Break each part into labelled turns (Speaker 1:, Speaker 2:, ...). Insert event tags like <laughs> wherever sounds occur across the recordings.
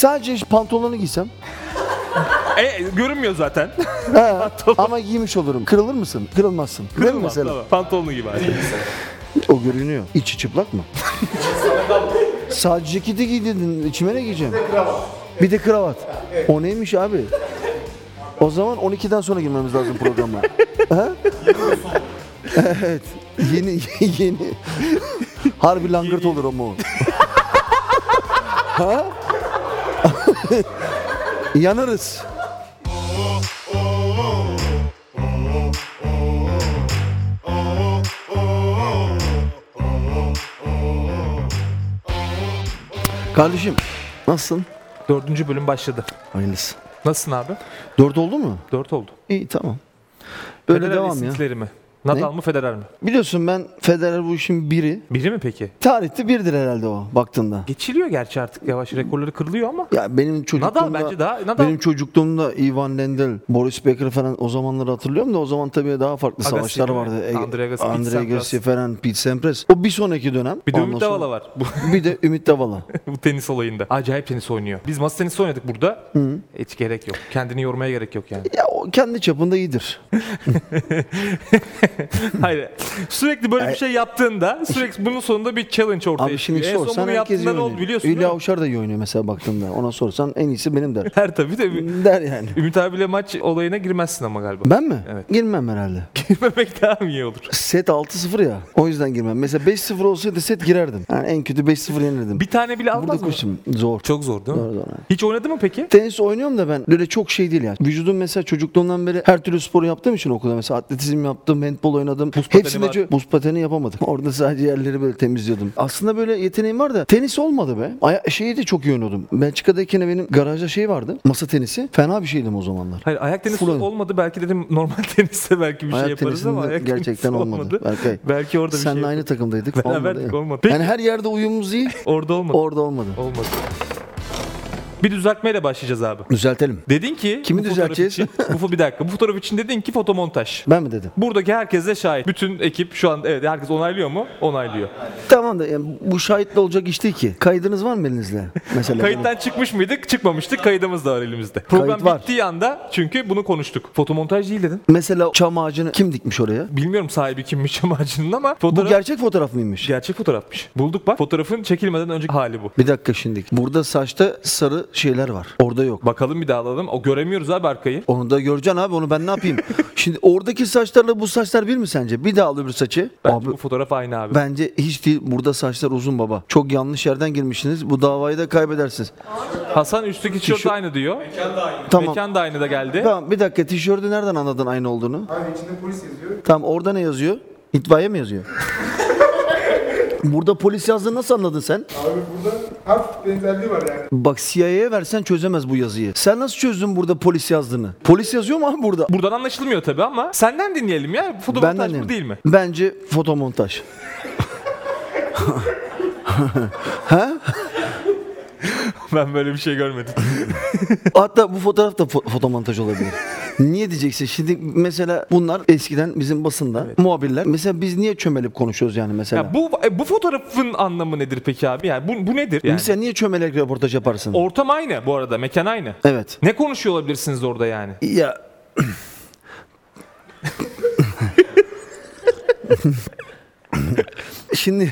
Speaker 1: Sadece pantolonu giysem
Speaker 2: E, görünmüyor zaten.
Speaker 1: <laughs> ama giymiş olurum. Kırılır mısın? Kırılmazsın. Değil mi
Speaker 2: Kırılmaz.
Speaker 1: mesela?
Speaker 2: tamam. Pantolonu gibi abi.
Speaker 1: O görünüyor. İçi çıplak mı? Sadece ceketi giydirdin. İçime ne giyeceğim? Bir de kravat. O neymiş abi? O zaman 12'den sonra girmemiz lazım programa. ha? evet. Yeni <laughs> yeni. Harbi langırt olur ama o. ha? <laughs> Yanarız. Kardeşim nasılsın?
Speaker 2: Dördüncü bölüm başladı.
Speaker 1: Hayırlısı.
Speaker 2: Nasılsın abi?
Speaker 1: Dört oldu mu?
Speaker 2: Dört oldu.
Speaker 1: İyi tamam. Böyle
Speaker 2: Federer
Speaker 1: devam ya.
Speaker 2: istikleri mi? Nadal mı Federer mi?
Speaker 1: Biliyorsun ben Federer bu işin biri.
Speaker 2: Biri mi peki?
Speaker 1: Tarihte birdir herhalde o baktığında.
Speaker 2: Geçiliyor gerçi artık yavaş rekorları kırılıyor ama. <laughs>
Speaker 1: Ya benim çocukluğumda
Speaker 2: bence daha- Nadal.
Speaker 1: benim çocukluğumda Ivan Lendl, Boris Becker falan o zamanları hatırlıyorum da o zaman tabii daha farklı
Speaker 2: Agassi
Speaker 1: savaşlar
Speaker 2: mi?
Speaker 1: vardı. E-
Speaker 2: Andre Agassi, Pete
Speaker 1: Andre
Speaker 2: Sampras.
Speaker 1: Agassi falan, Pete Sampras. O bir sonraki dönem.
Speaker 2: Bir de
Speaker 1: Ondan
Speaker 2: Ümit
Speaker 1: sonra-
Speaker 2: Davala
Speaker 1: <laughs>
Speaker 2: var bu,
Speaker 1: Bir de Ümit Davala.
Speaker 2: bu tenis olayında. Acayip tenis oynuyor. Biz masa tenisi oynadık burada. Hiç gerek yok. Kendini yormaya gerek yok yani.
Speaker 1: ya o kendi çapında iyidir.
Speaker 2: <laughs> Hayır. Sürekli böyle bir şey yaptığında sürekli bunun sonunda bir challenge ortaya
Speaker 1: Abi şimdi
Speaker 2: çıkıyor. en son
Speaker 1: sorsan
Speaker 2: bunu
Speaker 1: herkes iyi
Speaker 2: e, yaptığında ne oldu
Speaker 1: oynuyor.
Speaker 2: biliyorsun değil
Speaker 1: Hülya
Speaker 2: mi?
Speaker 1: Avşar da iyi oynuyor mesela baktığında. Ona sorsan en iyisi benim der. <laughs>
Speaker 2: Her tabii de
Speaker 1: der yani.
Speaker 2: Ümit abiyle maç olayına girmezsin
Speaker 1: <laughs>
Speaker 2: ama galiba.
Speaker 1: Ben mi?
Speaker 2: Evet.
Speaker 1: Girmem herhalde.
Speaker 2: Girmemek daha mı iyi olur?
Speaker 1: Set 6-0 ya. O yüzden girmem. Mesela 5-0 olsaydı set girerdim. Yani en kötü 5-0 yenirdim.
Speaker 2: Bir tane bile almaz
Speaker 1: Burada
Speaker 2: mı?
Speaker 1: koştum. Zor.
Speaker 2: Çok zor değil mi?
Speaker 1: Zor, zor, evet.
Speaker 2: Hiç oynadı mı peki?
Speaker 1: Tenis oynuyorum da ben böyle çok şey değil ya. Vücudum mesela çocukluğumdan beri her türlü sporu yaptığım için okulda mesela atletizm yaptım, handbol oynadım.
Speaker 2: Buz pateni
Speaker 1: Hepsinde
Speaker 2: var.
Speaker 1: çö- buz pateni yapamadım. <laughs> Orada sadece yerleri böyle temizliyordum. Aslında böyle yeteneğim var da tenis olmadı be. Aya- şeyi de çok iyi oynuyordum. Belçika'dayken benim garajda şey vardı. Masa tenisi. Fena bir şeydim o zamanlar.
Speaker 2: Hayır ayak tenisi
Speaker 1: Full oynadım.
Speaker 2: olmadı. Belki dedim normal <laughs> teniste belki bir
Speaker 1: Ayak
Speaker 2: şey yaparız ama
Speaker 1: tenisinde
Speaker 2: ayak
Speaker 1: gerçekten
Speaker 2: tenisi
Speaker 1: olmadı. Belki-
Speaker 2: <laughs> belki orada bir
Speaker 1: Seninle
Speaker 2: şey
Speaker 1: aynı
Speaker 2: yaparız.
Speaker 1: takımdaydık.
Speaker 2: Beraberdik,
Speaker 1: Olmadı.
Speaker 2: olmadı.
Speaker 1: Yani her yerde uyumumuz
Speaker 2: <laughs>
Speaker 1: iyi.
Speaker 2: Orada olmadı.
Speaker 1: Orada olmadı.
Speaker 2: olmadı. Bir düzeltmeyle başlayacağız abi.
Speaker 1: Düzeltelim.
Speaker 2: Dedin ki
Speaker 1: Kimi
Speaker 2: bu fotoğraf
Speaker 1: düzelteceğiz? <laughs>
Speaker 2: için- bu fo- bir dakika. Bu fotoğraf için dedin ki fotomontaj.
Speaker 1: Ben mi dedim?
Speaker 2: Buradaki herkes de şahit. Bütün ekip şu an evet herkes onaylıyor mu? Onaylıyor.
Speaker 1: Tamam da yani bu şahitle olacak iş değil ki. Kaydınız var mı elinizde? Mesela.
Speaker 2: Kayıttan çıkmış mıydık? Çıkmamıştık. Kaydımız da var elimizde. Program
Speaker 1: Kayıt var.
Speaker 2: bittiği anda çünkü bunu konuştuk. Fotomontaj değil dedin.
Speaker 1: Mesela çam ağacını kim dikmiş oraya?
Speaker 2: Bilmiyorum sahibi kimmiş <laughs> amacının ama
Speaker 1: Bu
Speaker 2: fotoğraf
Speaker 1: gerçek fotoğraf mıymış?
Speaker 2: gerçek fotoğrafmış. Bulduk bak. Fotoğrafın çekilmeden önceki hali bu.
Speaker 1: Bir dakika şimdi. Burada saçta sarı şeyler var. Orada yok.
Speaker 2: Bakalım bir daha alalım. O göremiyoruz abi arkayı.
Speaker 1: Onu da göreceksin abi onu ben ne
Speaker 2: <laughs>
Speaker 1: yapayım? şimdi oradaki saçlarla bu saçlar bir mi sence? Bir daha al öbür saçı.
Speaker 2: Bence
Speaker 1: abi
Speaker 2: bu fotoğraf aynı abi.
Speaker 1: bence hiç değil. Burada saçlar uzun baba. Çok yanlış yerden girmişsiniz. Bu davayı da kaybedersiniz.
Speaker 2: Hasan üstteki tişört
Speaker 1: Tişört-
Speaker 2: aynı diyor.
Speaker 1: Tamam.
Speaker 2: Mekan da aynı da geldi.
Speaker 1: Tamam bir dakika tişörtü nereden anladın aynı olduğunu?
Speaker 3: Abi içinde polis yazıyor.
Speaker 1: Tamam orada ne yazıyor? İtfaiye mi yazıyor? Burada polis yazdığını nasıl anladın sen?
Speaker 3: Abi burada hafif benzerliği var yani.
Speaker 1: Bak CIA'ya versen çözemez bu yazıyı. Sen nasıl çözdün burada polis yazdığını? Polis yazıyor mu abi burada?
Speaker 2: Buradan anlaşılmıyor tabii ama senden dinleyelim ya.
Speaker 1: Benden
Speaker 2: Fotomontaj
Speaker 1: yemin.
Speaker 2: bu değil mi? <laughs>
Speaker 1: Bence fotomontaj.
Speaker 2: Ben böyle bir şey görmedim.
Speaker 1: Hatta bu fotoğraf da fo- fotomontaj olabilir. niye diyeceksin? Şimdi mesela bunlar eskiden bizim basında muhabirler. Mesela biz niye çömelip konuşuyoruz yani mesela?
Speaker 2: ya bu e, bu fotoğrafın anlamı nedir peki abi? Yani bu, bu nedir? Yani
Speaker 1: Mesela niye çömelek röportaj yaparsın?
Speaker 2: ortam aynı bu arada. Mekan aynı.
Speaker 1: evet.
Speaker 2: Ne konuşuyor olabilirsiniz orada yani?
Speaker 1: Ya Şimdi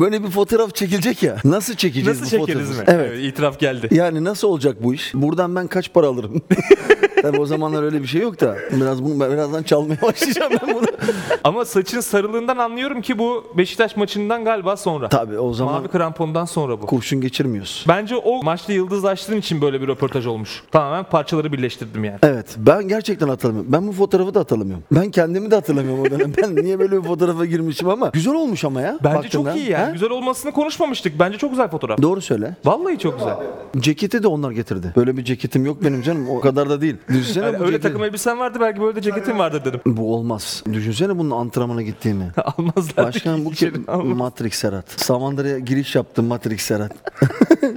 Speaker 1: böyle bir fotoğraf çekilecek ya. Nasıl çekeceğiz
Speaker 2: Nasıl
Speaker 1: bu
Speaker 2: çekeriz mi?
Speaker 1: fotoğrafı? Evet.
Speaker 2: itiraf geldi.
Speaker 1: Yani nasıl olacak bu iş? Buradan ben kaç para alırım? <laughs> Tabii o zamanlar öyle bir şey yok da biraz bunu ben birazdan çalmaya <laughs> başlayacağım ben bunu.
Speaker 2: Ama saçın sarılığından anlıyorum ki bu Beşiktaş maçından galiba sonra.
Speaker 1: Tabii o zaman
Speaker 2: Mavi krampondan sonra bu.
Speaker 1: kurşun geçirmiyoruz.
Speaker 2: Bence o maçta yıldızlaştığın için böyle bir röportaj olmuş. Tamamen parçaları birleştirdim yani.
Speaker 1: Evet ben gerçekten hatırlamıyorum. Ben bu fotoğrafı da hatırlamıyorum. Ben kendimi de hatırlamıyorum o dönem. Ben niye böyle bir fotoğrafa girmişim ama. Güzel olmuş ama ya.
Speaker 2: Bence
Speaker 1: baktığında.
Speaker 2: çok iyi yani.
Speaker 1: Ha?
Speaker 2: Güzel olmasını konuşmamıştık. Bence çok güzel fotoğraf.
Speaker 1: Doğru söyle.
Speaker 2: Vallahi çok güzel.
Speaker 1: Ceketi de onlar getirdi. Böyle bir ceketim yok benim canım. O kadar da
Speaker 2: <laughs>
Speaker 1: değil. Düşünsene
Speaker 2: Yani
Speaker 1: bu
Speaker 2: öyle
Speaker 1: ceketi-
Speaker 2: takım elbisen vardı belki böyle de ceketin vardı dedim. <laughs>
Speaker 1: Bu olmaz. Düşünsene bunun antrenmana gittiğimi.
Speaker 2: Almazlar.
Speaker 1: Başkan bu
Speaker 2: İçeri
Speaker 1: kim?
Speaker 2: almaz.
Speaker 1: Matrix Serhat. Samandıra'ya giriş yaptım Matrix
Speaker 2: <laughs>
Speaker 1: Serhat.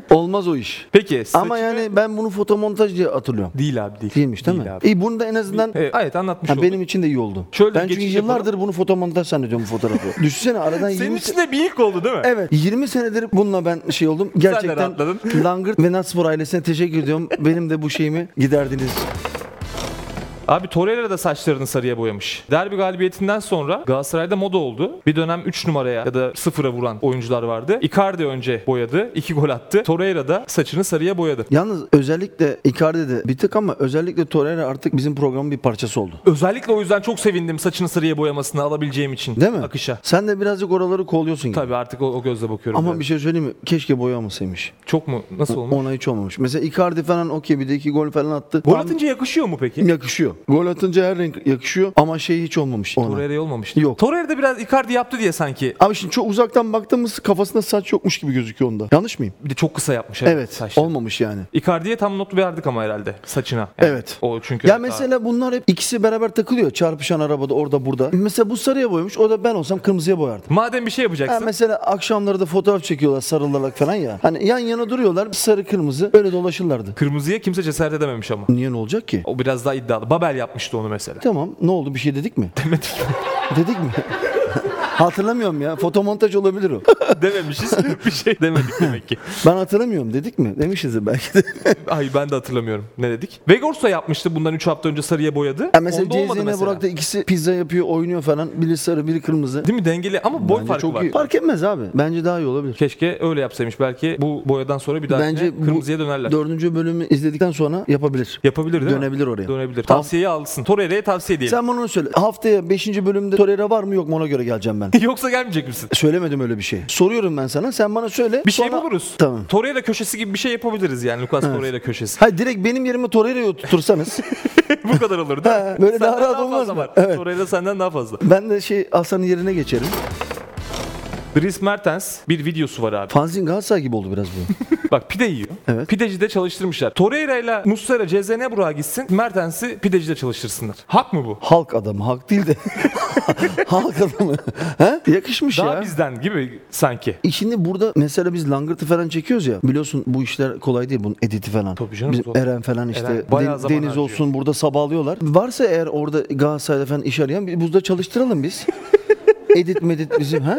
Speaker 1: Olmaz o iş.
Speaker 2: Peki saçını...
Speaker 1: Ama yani ben bunu fotomontaj diye hatırlıyorum.
Speaker 2: Değil abi değil.
Speaker 1: Değilmiş değil, mi?
Speaker 2: Abi.
Speaker 1: İyi bunu da en azından
Speaker 2: Evet, evet anlatmış
Speaker 1: ha,
Speaker 2: olduk.
Speaker 1: benim için de iyi oldu.
Speaker 2: Şöyle bir
Speaker 1: ben çünkü
Speaker 2: geçiş yapalım. <laughs>
Speaker 1: yıllardır bunu fotomontaj zannediyorum bu fotoğrafı. Düşünsene aradan
Speaker 2: Senin
Speaker 1: 20
Speaker 2: için de bir ilk oldu oldu değil mi?
Speaker 1: Evet. 20 senedir bununla ben şey oldum. Gerçekten
Speaker 2: rahatladın.
Speaker 1: Langırt ve Natspor ailesine teşekkür ediyorum. Benim de bu şeyimi giderdiniz.
Speaker 2: Abi Torreira da saçlarını sarıya boyamış. Derbi galibiyetinden sonra Galatasaray'da moda oldu. Bir dönem 3 numaraya ya da 0'a vuran oyuncular vardı. Icardi önce boyadı. 2 gol attı. Torreira da saçını sarıya boyadı.
Speaker 1: Yalnız özellikle Icardi de bir tık ama özellikle Torreira artık bizim programın bir parçası oldu.
Speaker 2: Özellikle o yüzden çok sevindim saçını sarıya boyamasını alabileceğim için.
Speaker 1: Değil mi?
Speaker 2: Akışa.
Speaker 1: Sen de birazcık oraları kolluyorsun gibi.
Speaker 2: Tabii artık o, o gözle bakıyorum.
Speaker 1: Ama
Speaker 2: biraz.
Speaker 1: bir şey söyleyeyim mi? Keşke boyamasaymış.
Speaker 2: Çok mu? Nasıl olmuş?
Speaker 1: Ona hiç olmamış. Mesela Icardi falan okey bir de iki gol falan attı.
Speaker 2: Gol
Speaker 1: Tam
Speaker 2: atınca yakışıyor mu peki?
Speaker 1: yakışıyor. Gol atınca her renk yakışıyor ama şey hiç olmamış ona.
Speaker 2: Torreira'ya olmamış.
Speaker 1: Yok.
Speaker 2: Torreira da biraz Icardi yaptı diye sanki.
Speaker 1: Abi şimdi çok uzaktan baktığımız kafasında saç yokmuş gibi gözüküyor onda. Yanlış mıyım?
Speaker 2: Bir de çok kısa yapmış.
Speaker 1: Evet.
Speaker 2: saçları.
Speaker 1: Olmamış yani.
Speaker 2: Icardi'ye tam not verdik ama herhalde saçına.
Speaker 1: Evet.
Speaker 2: O çünkü
Speaker 1: Ya
Speaker 2: daha-
Speaker 1: mesela bunlar hep ikisi beraber takılıyor. Çarpışan arabada orada burada. Mesela bu sarıya boyamış. O da ben olsam kırmızıya boyardım.
Speaker 2: madem bir şey
Speaker 1: Ha
Speaker 2: yapacaksın.
Speaker 1: mesela akşamları da fotoğraf çekiyorlar sarılarak falan ya. Hani yan yana duruyorlar sarı kırmızı öyle dolaşırlardı.
Speaker 2: Kırmızıya kimse cesaret edememiş ama.
Speaker 1: Niye ne olacak ki?
Speaker 2: O biraz daha iddialı. Babel yapmıştı
Speaker 1: <laughs>
Speaker 2: onu mesela.
Speaker 1: Tamam ne oldu bir şey dedik mi? dedik mi? <laughs> Hatırlamıyorum ya. Fotomontaj olabilir o.
Speaker 2: Dememişiz. <laughs> bir şey demedik demek ki.
Speaker 1: Ben hatırlamıyorum dedik mi? Demişiz belki de.
Speaker 2: Ay ben de hatırlamıyorum. Ne dedik? Vegors da yapmıştı bundan 3 hafta önce sarıya boyadı.
Speaker 1: Ya mesela
Speaker 2: Onda olmadı
Speaker 1: Ceyze'yle
Speaker 2: mesela.
Speaker 1: Burak da ikisi pizza yapıyor, oynuyor falan. Biri sarı, biri kırmızı.
Speaker 2: Değil mi dengeli ama boy
Speaker 1: Bence
Speaker 2: farkı
Speaker 1: çok
Speaker 2: var.
Speaker 1: iyi. Fark etmez abi. Bence daha iyi olabilir.
Speaker 2: Keşke öyle yapsaymış. Belki bu boyadan sonra bir daha
Speaker 1: Bence bu
Speaker 2: kırmızıya dönerler.
Speaker 1: Dördüncü bölümü izledikten sonra yapabilir.
Speaker 2: Yapabilir değil mi?
Speaker 1: Dönebilir oraya.
Speaker 2: Dönebilir. Tavsiyeyi alsın. Torreira'ya tavsiye edelim.
Speaker 1: Sen bana onu söyle. Haftaya 5. bölümde Torreira var mı yok mu ona göre geleceğim ben.
Speaker 2: <laughs> Yoksa gelmeyecek misin?
Speaker 1: Söylemedim öyle bir şey. Soruyorum ben sana. Sen bana söyle.
Speaker 2: Bir şey
Speaker 1: Sonra-
Speaker 2: buluruz.
Speaker 1: Tamam.
Speaker 2: Torreira köşesi gibi bir şey yapabiliriz yani Lucas Torreira köşesi. <laughs>
Speaker 1: Hayır direkt benim yerime Torreira'yı oturtursanız
Speaker 2: Bu kadar olur değil
Speaker 1: <laughs>
Speaker 2: mi?
Speaker 1: böyle daha
Speaker 2: Senden
Speaker 1: rahat olmaz
Speaker 2: fazla
Speaker 1: mı?
Speaker 2: var.
Speaker 1: Evet.
Speaker 2: Torreira senden daha fazla.
Speaker 1: ben de şey Hasan'ın yerine geçerim.
Speaker 2: Dries Mertens bir videosu
Speaker 1: <laughs>
Speaker 2: var abi.
Speaker 1: Fanzin Galatasaray gibi oldu biraz bu.
Speaker 2: <laughs> Bak pide yiyor.
Speaker 1: Evet.
Speaker 2: Pideci de çalıştırmışlar. Torreira ile Muslera Cezene Burak'a gitsin. Mertens'i pidecide çalıştırsınlar. Hak mı bu?
Speaker 1: halk adamı. Halk
Speaker 2: <laughs>
Speaker 1: değil de. halk adamı. He? Yakışmış
Speaker 2: Daha
Speaker 1: Şey ya.
Speaker 2: bizden gibi sanki.
Speaker 1: E Şimdi burada mesela biz langırtı falan çekiyoruz ya. Biliyorsun bu işler kolay değil bunun editi falan.
Speaker 2: Tabii canım,
Speaker 1: Bizim
Speaker 2: zor.
Speaker 1: Eren falan işte
Speaker 2: Eren bayağı
Speaker 1: Den-
Speaker 2: zaman
Speaker 1: Deniz
Speaker 2: harcıyor.
Speaker 1: olsun burada sabahlıyorlar. Varsa eğer orada Galatasaray'da falan iş arayan bir buzda çalıştıralım
Speaker 2: <laughs>
Speaker 1: biz. edit medit bizim ha?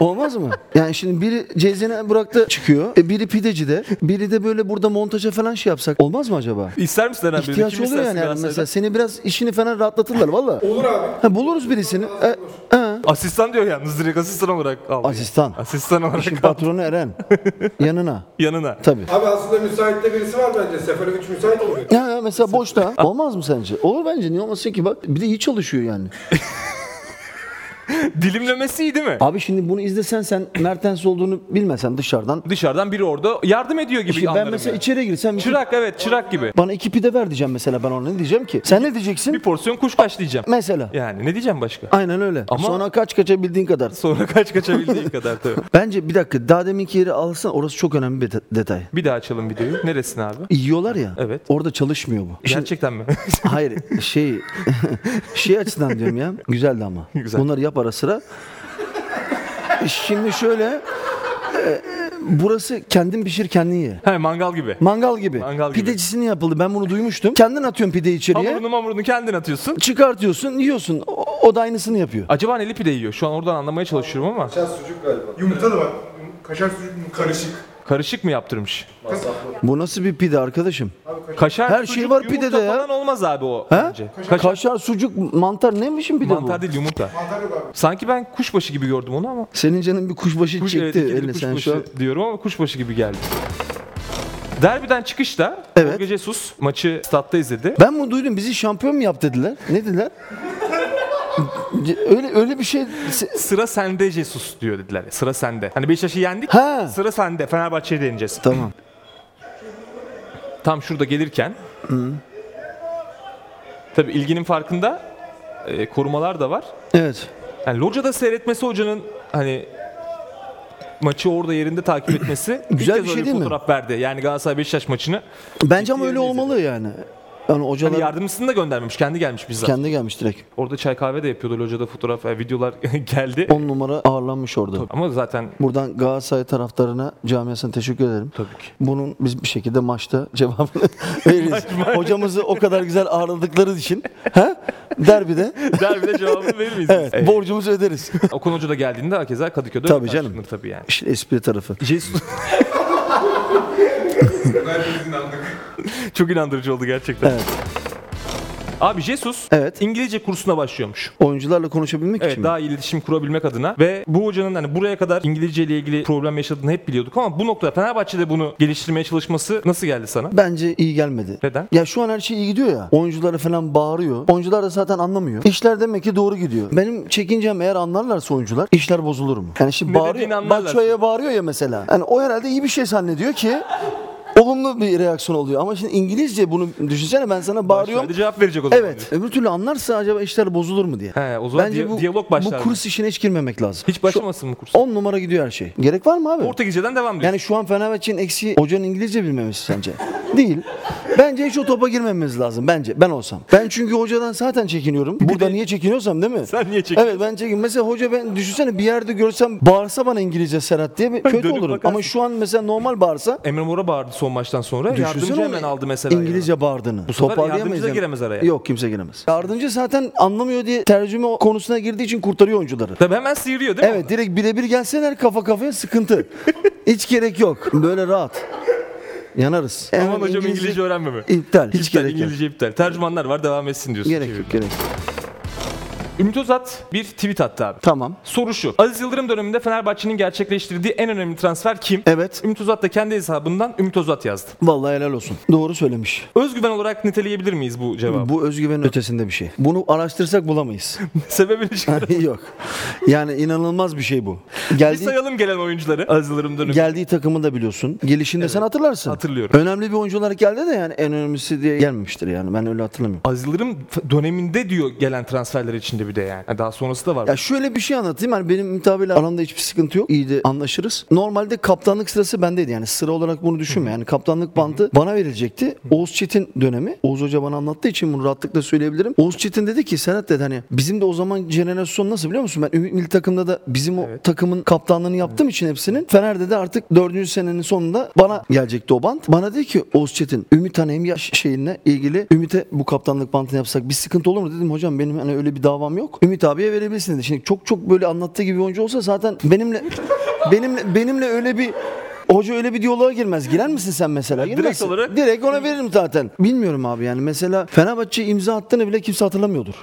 Speaker 1: Olmaz mı? Yani şimdi biri Cezene Burak'ta çıkıyor. E biri pidecide. Biri de böyle burada montaja falan şey yapsak. Olmaz mı acaba?
Speaker 2: İster misin Eren Bey?
Speaker 1: İhtiyaç
Speaker 2: Kim
Speaker 1: oluyor
Speaker 2: istersin
Speaker 1: yani Eren
Speaker 2: Galatasaray'da?
Speaker 1: mesela. Seni biraz işini falan rahatlatırlar valla.
Speaker 3: Olur abi.
Speaker 1: Ha, buluruz birisini. E, ha.
Speaker 2: Asistan diyor yalnız direkt asistan olarak al.
Speaker 1: Asistan.
Speaker 2: Asistan
Speaker 1: İşin
Speaker 2: olarak al.
Speaker 1: patronu
Speaker 2: <laughs>
Speaker 1: Eren. Yanına.
Speaker 2: Yanına.
Speaker 1: Tabii.
Speaker 3: Abi aslında müsaitte birisi var bence. Sefere 3 müsait oluyor.
Speaker 1: Ya, ya mesela boşta. Olmaz mı sence? Olur bence. Niye olmasın ki? Bak bir de iyi çalışıyor yani.
Speaker 2: <laughs> Dilimlemesi iyi değil mi?
Speaker 1: Abi şimdi bunu izlesen sen Mertens olduğunu bilmesen dışarıdan.
Speaker 2: Dışarıdan biri orada yardım ediyor gibi
Speaker 1: Şimdi ben
Speaker 2: anlarım
Speaker 1: mesela
Speaker 2: yani.
Speaker 1: içeri girsem
Speaker 2: Çırak evet çırak gibi.
Speaker 1: bana iki pide ver diyeceğim mesela ben ona ne diyeceğim ki? Sen ne
Speaker 2: Bir
Speaker 1: diyeceksin?
Speaker 2: porsiyon kuşkaş diyeceğim.
Speaker 1: Mesela.
Speaker 2: Yani ne diyeceğim başka? <laughs>
Speaker 1: Aynen öyle.
Speaker 2: Ama-
Speaker 1: Sonra kaç kaçabildiğin kadar.
Speaker 2: Sonra kaç kaçabildiği kadar tabii.
Speaker 1: Bence bir dakika daha deminki yeri alsan orası çok önemli bir de- detay.
Speaker 2: Bir daha açalım videoyu. Neresini abi?
Speaker 1: Yiyorlar ya.
Speaker 2: Evet.
Speaker 1: Orada çalışmıyor bu. Şimdi-
Speaker 2: Gerçekten mi? <laughs>
Speaker 1: hayır şey <laughs> şey açısından diyorum ya. Güzeldi ama.
Speaker 2: <laughs> Güzel.
Speaker 1: Bunları yap ara sıra. Şimdi şöyle e, burası kendin pişir kendin ye.
Speaker 2: He mangal gibi.
Speaker 1: Mangal gibi.
Speaker 2: Mangal gibi.
Speaker 1: Pidecisini yapıldı. Ben bunu duymuştum. Kendin atıyorsun pideyi içeriye.
Speaker 2: Hamurunu mamurunu kendin atıyorsun.
Speaker 1: Çıkartıyorsun, yiyorsun. O, o da aynısını yapıyor.
Speaker 2: Acaba neli pide yiyor? Şu an oradan anlamaya çalışıyorum ama.
Speaker 4: Kaşar sucuk galiba.
Speaker 3: Yumurta da var. Yum- Kaşar sucuk mu? Karışık.
Speaker 2: Karışık mı yaptırmış?
Speaker 4: Masraflı.
Speaker 1: Bu nasıl bir pide arkadaşım?
Speaker 2: Kaşar,
Speaker 1: Her şey
Speaker 2: sucuk,
Speaker 1: var
Speaker 2: yumurta
Speaker 1: pidede ya.
Speaker 2: falan olmaz abi o
Speaker 1: He?
Speaker 2: bence.
Speaker 1: Kaşar, sucuk, mantar ne biçim pide
Speaker 2: Mantar
Speaker 1: bu?
Speaker 2: değil yumurta.
Speaker 3: Mantar yok abi.
Speaker 2: Sanki ben kuşbaşı gibi gördüm onu ama.
Speaker 1: Senin canın bir kuşbaşı
Speaker 2: Kuş, evet,
Speaker 1: çekti
Speaker 2: ikili
Speaker 1: eline sen şu an.
Speaker 2: kuşbaşı diyorum ama kuşbaşı gibi geldi. Derbiden çıkışta
Speaker 1: Evet.
Speaker 2: Jorge Jesus maçı statta izledi.
Speaker 1: Ben bunu duydum. Bizi şampiyon mu yap dediler? Ne dediler? C- öyle öyle bir şey se-
Speaker 2: Sıra sende Jesus diyor dediler. Sıra sende. Hani Beşiktaş'ı yendik.
Speaker 1: Ha.
Speaker 2: Sıra sende. Fenerbahçe'ye deneyeceğiz.
Speaker 1: Tamam.
Speaker 2: Tam şurada gelirken. Tabii ilginin farkında e, korumalar da var.
Speaker 1: Evet.
Speaker 2: Yani locada seyretmesi hocanın hani maçı orada yerinde takip
Speaker 1: <clears throat>
Speaker 2: etmesi ilk
Speaker 1: Güzel
Speaker 2: kez
Speaker 1: bir
Speaker 2: öyle
Speaker 1: şey değil mi?
Speaker 2: fotoğraf verdi. Yani Galatasaray Beşiktaş maçını
Speaker 1: Bence ama öyle
Speaker 2: yerine izledim.
Speaker 1: olmalı yani. Yani hocalar
Speaker 2: hani yardımcısını da göndermemiş. Kendi gelmiş bizzat.
Speaker 1: kendi gelmiş direkt.
Speaker 2: Orada çay kahve de yapıyordu locada fotoğraf yani videolar <laughs> geldi.
Speaker 1: 10 numara ağırlanmış orada.
Speaker 2: Ama zaten
Speaker 1: Buradan Galatasaray taraftarına camiasına teşekkür ederim.
Speaker 2: tabii ki.
Speaker 1: Bunun biz bir şekilde <laughs> maçta cevabını veririz. Hocamızı o kadar güzel ağırladıkları için. Ha? Derbide
Speaker 2: Derbide cevabını verir
Speaker 1: <laughs>
Speaker 2: miyiz? biz? Evet.
Speaker 1: borcumuzu öderiz.
Speaker 2: Okan Hoca da geldiğinde herkes Kadıköy'de
Speaker 1: Tabii
Speaker 2: röportaj
Speaker 1: canım.
Speaker 2: yapılır tabii yani.
Speaker 1: İşin espri tarafı.
Speaker 2: Jesus. <laughs>
Speaker 3: Herkes inandık.
Speaker 4: <laughs>
Speaker 2: Çok inandırıcı oldu gerçekten.
Speaker 1: Evet.
Speaker 2: Abi Jesus
Speaker 1: Evet.
Speaker 2: İngilizce kursuna başlıyormuş.
Speaker 1: Oyuncularla konuşabilmek
Speaker 2: Evet
Speaker 1: için. mi?
Speaker 2: daha iyi iletişim kurabilmek adına ve bu hocanın hani buraya kadar İngilizce ile ilgili problem yaşadığını hep biliyorduk ama bu noktada Fenerbahçe'de bunu geliştirmeye çalışması nasıl geldi sana?
Speaker 1: Bence iyi gelmedi.
Speaker 2: Neden?
Speaker 1: Ya şu an her şey iyi gidiyor ya. Oyunculara falan bağırıyor. Oyuncular da zaten anlamıyor. İşler demek ki doğru gidiyor. Benim çekincem eğer anlarlarsa oyuncular işler bozulur mu? Yani şimdi
Speaker 2: Ne dediğini
Speaker 1: bağırıyor.
Speaker 2: anlarlar.
Speaker 1: Batshuayi'ye bağırıyor ya mesela. Yani o herhalde iyi bir şey zannediyor ki olumlu bir reaksiyon oluyor. Ama şimdi İngilizce bunu düşünsene ben sana bağırıyorum.
Speaker 2: Hadi cevap verecek o zaman.
Speaker 1: Evet. Öbür türlü anlarsa acaba işler bozulur mu diye.
Speaker 2: He, o zaman
Speaker 1: Bence
Speaker 2: diya-
Speaker 1: bu,
Speaker 2: diyalog başlar.
Speaker 1: bu kurs işine hiç girmemek lazım.
Speaker 2: Hiç başlamasın mı kurs?
Speaker 1: 10 numara gidiyor her şey. Gerek var mı abi?
Speaker 2: Portekizce'den devam diyor.
Speaker 1: Yani şu an Fenerbahçe'nin eksiği hocanın İngilizce bilmemesi sence? <laughs> Değil. Bence hiç o topa girmememiz lazım bence. Ben olsam. Ben çünkü hocadan zaten çekiniyorum. Burada niye çekiniyorsam değil mi?
Speaker 2: Sen niye çekin?
Speaker 1: Evet ben çekin. Mesela hoca ben düşünsene bir yerde görsem bağırsa bana İngilizce Serhat diye bir kötü
Speaker 2: Dönüp
Speaker 1: olurum.
Speaker 2: bakarsın.
Speaker 1: Ama şu an mesela normal bağırsa
Speaker 2: Emre Mor'a bağırdı son maçtan sonra. Yardımcı
Speaker 1: Düşünsene
Speaker 2: hemen
Speaker 1: onu
Speaker 2: aldı mesela.
Speaker 1: İngilizce bağırdığını. Bu
Speaker 2: sefer yardımcı da giremez araya.
Speaker 1: Yok kimse giremez. Yardımcı zaten anlamıyor diye tercüme konusuna girdiği için kurtarıyor oyuncuları.
Speaker 2: Tabii hemen sıyırıyor değil mi?
Speaker 1: Evet direkt birebir gelseler kafa kafaya sıkıntı. Hiç gerek yok. Böyle rahat. Yanarız.
Speaker 2: Aman
Speaker 1: Hemen
Speaker 2: hocam İngilizce, öğrenmeme.
Speaker 1: İptal. Hiç
Speaker 2: İptal,
Speaker 1: gerek yok.
Speaker 2: İngilizce şey iptal. Tercümanlar var devam etsin diyorsun.
Speaker 1: Gerek
Speaker 2: Çevir.
Speaker 1: yok gerek yok.
Speaker 2: Ümit Özat bir tweet attı abi.
Speaker 1: Tamam.
Speaker 2: Soru şu. Aziz Yıldırım döneminde Fenerbahçe'nin gerçekleştirdiği en önemli transfer kim?
Speaker 1: Evet.
Speaker 2: Ümit Özat da kendi hesabından Ümit Özat yazdı.
Speaker 1: Vallahi helal olsun. Doğru söylemiş.
Speaker 2: Özgüven olarak niteleyebilir miyiz bu cevabı?
Speaker 1: Bu özgüvenin ötesinde bir şey. Bunu araştırsak
Speaker 2: <laughs>
Speaker 1: bulamayız.
Speaker 2: Sebebini çıkar.
Speaker 1: yok. Yani inanılmaz bir şey bu.
Speaker 2: Bir
Speaker 1: Geldiği,
Speaker 2: sayalım gelen oyuncuları. Aziz Yıldırım dönemi.
Speaker 1: geldiği takımı da biliyorsun. Gelişinde sen hatırlarsın.
Speaker 2: Hatırlıyorum.
Speaker 1: Önemli bir oyuncular geldi de yani en önemlisi diye gelmemiştir yani. Ben öyle hatırlamıyorum.
Speaker 2: Aziz Yıldırım f- döneminde diyor gelen transferler içinde bir de yani. Ha, Daha sonrası da var.
Speaker 1: Ya şöyle bir şey anlatayım. Yani benim Ümit abiyle aramda hiçbir sıkıntı yok. İyi de anlaşırız. Normalde kaptanlık sırası bendeydi. Yani sıra olarak bunu düşünme. Yani kaptanlık bandı bana verilecekti. Oğuz Çetin dönemi. Oğuz Hoca bana anlattığı için bunu rahatlıkla söyleyebilirim. Oğuz Çetin dedi ki Serhat dedi hani bizim de o zaman jenerasyon nasıl biliyor musun? Ben Ümit Milli Takım'da da bizim o takımın kaptanlığını yaptığım için hepsinin. Fener'de de artık dördüncü senenin sonunda bana gelecekti o bant. Bana dedi ki Oğuz Çetin Ümit hani hem yaş şeyinle ilgili Ümit'e bu kaptanlık bantını yapsak bir sıkıntı olur mu? Dedim hocam benim hani öyle bir davam yok. Ümit abiye verebilirsin dedi. Şimdi çok çok böyle anlattığı gibi oyuncu olsa zaten benimle benimle benimle öyle bir Hoca öyle bir diyaloğa girmez. Girer misin sen mesela?
Speaker 2: direkt
Speaker 1: Girmezsin.
Speaker 2: olarak-
Speaker 1: Direkt ona veririm zaten. Bilmiyorum abi yani mesela Fenerbahçe imza attığını bile kimse hatırlamıyordur.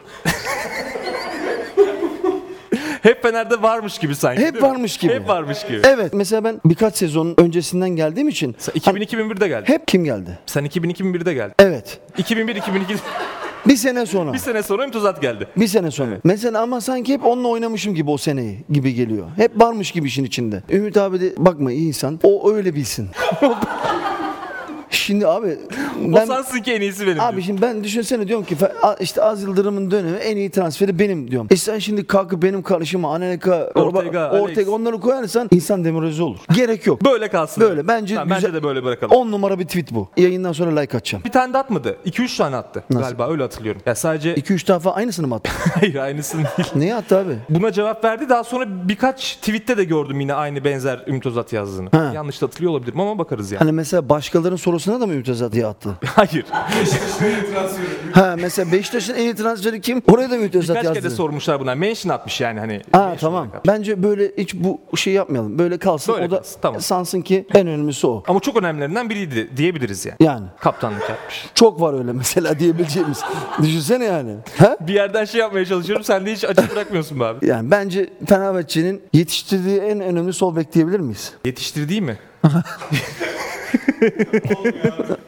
Speaker 2: Hep Fener'de varmış gibi sanki.
Speaker 1: Hep
Speaker 2: değil mi?
Speaker 1: varmış gibi.
Speaker 2: Hep varmış gibi.
Speaker 1: Evet mesela ben birkaç sezon öncesinden geldiğim için
Speaker 2: Sen
Speaker 1: hani
Speaker 2: 2000-2001'de geldin.
Speaker 1: hep kim geldi?
Speaker 2: Sen 2000-2001'de geldin.
Speaker 1: Evet.
Speaker 2: 2001-2002
Speaker 1: Bir sene sonra.
Speaker 2: bir sene sonra Ümit Özat geldi.
Speaker 1: Bir sene sonra. Mesela ama sanki hep onunla oynamışım gibi o seneyi gibi geliyor. Hep varmış gibi işin içinde. Ümit abi de bakma iyi insan. O öyle
Speaker 2: <laughs>
Speaker 1: bilsin. Şimdi abi
Speaker 2: o
Speaker 1: ben
Speaker 2: sansın ki en iyisi benim.
Speaker 1: Abi
Speaker 2: diyor.
Speaker 1: şimdi ben düşünsene diyorum ki fe- a- işte Az Yıldırım'ın dönemi en iyi transferi benim diyorum. E sen şimdi kalkıp benim karşıma Anelka,
Speaker 2: Ortega,
Speaker 1: Ortega,
Speaker 2: Alex.
Speaker 1: Ortega onları koyarsan insan demoralize olur. Gerek yok.
Speaker 2: Böyle kalsın.
Speaker 1: Böyle bence
Speaker 2: Tamam, bence
Speaker 1: güzel-
Speaker 2: de böyle bırakalım.
Speaker 1: 10 numara bir tweet bu. Yayından sonra like atacağım.
Speaker 2: Bir tane de atmadı. 2-3 tane attı galiba öyle hatırlıyorum. Ya sadece
Speaker 1: 2-3 defa aynısını mı attı?
Speaker 2: <laughs> hayır aynısını değil.
Speaker 1: Neye attı abi?
Speaker 2: Buna cevap verdi. Daha sonra birkaç tweette de gördüm yine aynı benzer Ümit Özat yazdığını.
Speaker 1: Ha.
Speaker 2: Yanlış da hatırlıyor olabilirim ama bakarız yani.
Speaker 1: Hani mesela başkalarının sorusuna da mı Ümit Özat diye attı?
Speaker 2: <laughs> Hayır.
Speaker 1: ha mesela Beşiktaş'ın en iyi transferi kim? Oraya da Ümit Özat
Speaker 2: Birkaç kere
Speaker 1: yazdı.
Speaker 2: sormuşlar buna. Mention atmış yani hani.
Speaker 1: Ha
Speaker 2: mention
Speaker 1: tamam.
Speaker 2: olarak atmış.
Speaker 1: Bence böyle hiç bu şey yapmayalım. Böyle kalsın.
Speaker 2: Böyle
Speaker 1: o da
Speaker 2: kalsın, tamam.
Speaker 1: sansın ki en önemlisi o.
Speaker 2: Ama çok önemlilerinden biriydi diyebiliriz yani.
Speaker 1: Yani.
Speaker 2: Kaptanlık yapmış.
Speaker 1: Çok var öyle mesela
Speaker 2: <laughs>
Speaker 1: diyebileceğimiz. Düşünsene yani. Ha?
Speaker 2: Bir yerden şey yapmaya çalışıyorum. Sen de hiç açık bırakmıyorsun be abi.
Speaker 1: Yani bence Fenerbahçe'nin yetiştirdiği en önemli sol bek diyebilir miyiz?
Speaker 2: Yetiştirdiği mi?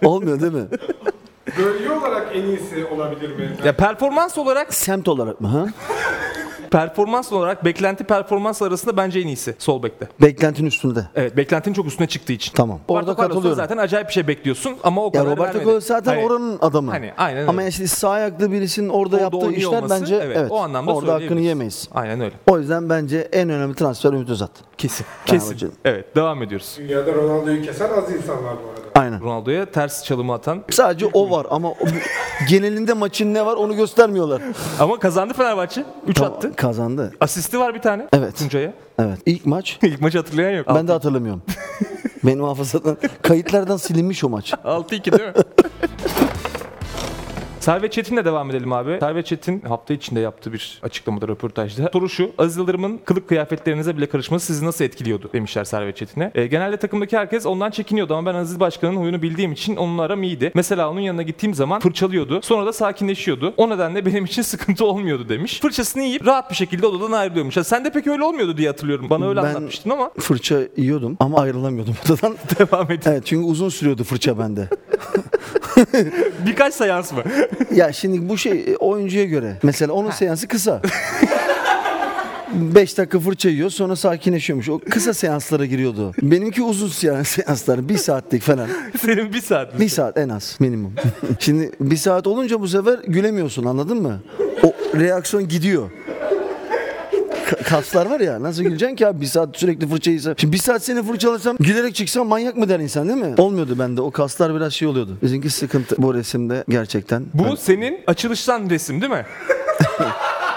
Speaker 1: Olmuyor değil
Speaker 2: <laughs>
Speaker 1: mi?
Speaker 3: Bölge olarak en iyisi olabilir mi?
Speaker 2: Ya performans olarak
Speaker 1: Semt olarak mı? Ha?
Speaker 2: Performans olarak beklenti performans arasında bence en iyisi sol bekte.
Speaker 1: Beklentinin üstünde.
Speaker 2: Evet beklentinin çok üstüne çıktığı için.
Speaker 1: Tamam.
Speaker 2: Orada
Speaker 1: Orada katılıyorum.
Speaker 2: zaten acayip bir şey bekliyorsun ama o
Speaker 1: Ya
Speaker 2: kadar
Speaker 1: Roberto
Speaker 2: vermedi.
Speaker 1: Carlos zaten
Speaker 2: Hani
Speaker 1: oranın adamı.
Speaker 2: Hani, aynen öyle.
Speaker 1: Ama yani sağ ayaklı birisinin orada,
Speaker 2: orada
Speaker 1: yaptığı
Speaker 2: oynuyor
Speaker 1: işler
Speaker 2: olması,
Speaker 1: bence evet,
Speaker 2: o anlamda
Speaker 1: orada hakkını
Speaker 2: söyleyebiliriz.
Speaker 1: yemeyiz.
Speaker 2: Aynen öyle.
Speaker 1: O yüzden bence en önemli transfer Ümit Özat.
Speaker 2: Kesin. Kesin.
Speaker 1: hocam.
Speaker 2: Evet devam ediyoruz.
Speaker 3: Dünyada Ronaldo'yu kesen az insan var bu arada.
Speaker 1: Aynen.
Speaker 2: Ronaldo'ya ters çalımı atan
Speaker 1: Sadece o var ama o- genelinde maçın ne var onu
Speaker 2: <laughs>
Speaker 1: göstermiyorlar.
Speaker 2: ama kazandı Fenerbahçe. 3
Speaker 1: Tamam,
Speaker 2: attı.
Speaker 1: Kazandı.
Speaker 2: Asisti var bir tane.
Speaker 1: Evet. <laughs>
Speaker 2: Tuncay'a.
Speaker 1: Evet. İlk maç
Speaker 2: İlk maçı hatırlayan yok.
Speaker 1: ben de
Speaker 2: <laughs>
Speaker 1: hatırlamıyorum. Benim hafızadan kayıtlardan silinmiş o maç.
Speaker 2: 6-2 değil mi? Servet Çetin'le devam edelim abi. Servet Çetin hafta içinde yaptığı bir açıklamada röportajda. Soru şu. Aziz Yıldırım'ın kılık kıyafetlerinize bile karışması sizi nasıl etkiliyordu demişler Servet Çetin'e. E, genelde takımdaki herkes ondan çekiniyordu ama ben Aziz Başkan'ın huyunu bildiğim için onunla aram iyiydi. Mesela onun yanına gittiğim zaman fırçalıyordu. Sonra da sakinleşiyordu. O nedenle benim için <laughs> sıkıntı olmuyordu demiş. Fırçasını yiyip rahat bir şekilde odadan ayrılıyormuş. Ya sen de pek öyle olmuyordu diye hatırlıyorum. Bana öyle
Speaker 1: Ben-
Speaker 2: anlatmıştın ama <laughs>
Speaker 1: Fırça yiyordum ama ayrılamıyordum <laughs> odadan.
Speaker 2: devam et.
Speaker 1: Evet çünkü uzun sürüyordu fırça bende.
Speaker 2: Birkaç seans mı? <laughs>
Speaker 1: ya şimdi bu şey e, oyuncuya göre. Mesela onun seansı kısa. 5 dakika fırça yiyor sonra sakinleşiyormuş. O kısa seanslara giriyordu. Benimki uzun seans- seanslar. Bir saatlik falan.
Speaker 2: Senin bir saat mi?
Speaker 1: Bir saat en az minimum. <laughs> Şimdi bir saat olunca bu sefer gülemiyorsun anladın mı? O reaksiyon gidiyor. Ka- Kaslar var ya nasıl güleceksin ki abi bir saat sürekli fırça yiysen. Şimdi bir saat seni fırçalasam gülerek çıksam manyak mı der insan değil mi? Olmuyordu bende o kaslar biraz şey oluyordu. Bizimki sıkıntı bu resimde gerçekten.
Speaker 2: Bu senin açılıştan resim değil mi? <laughs>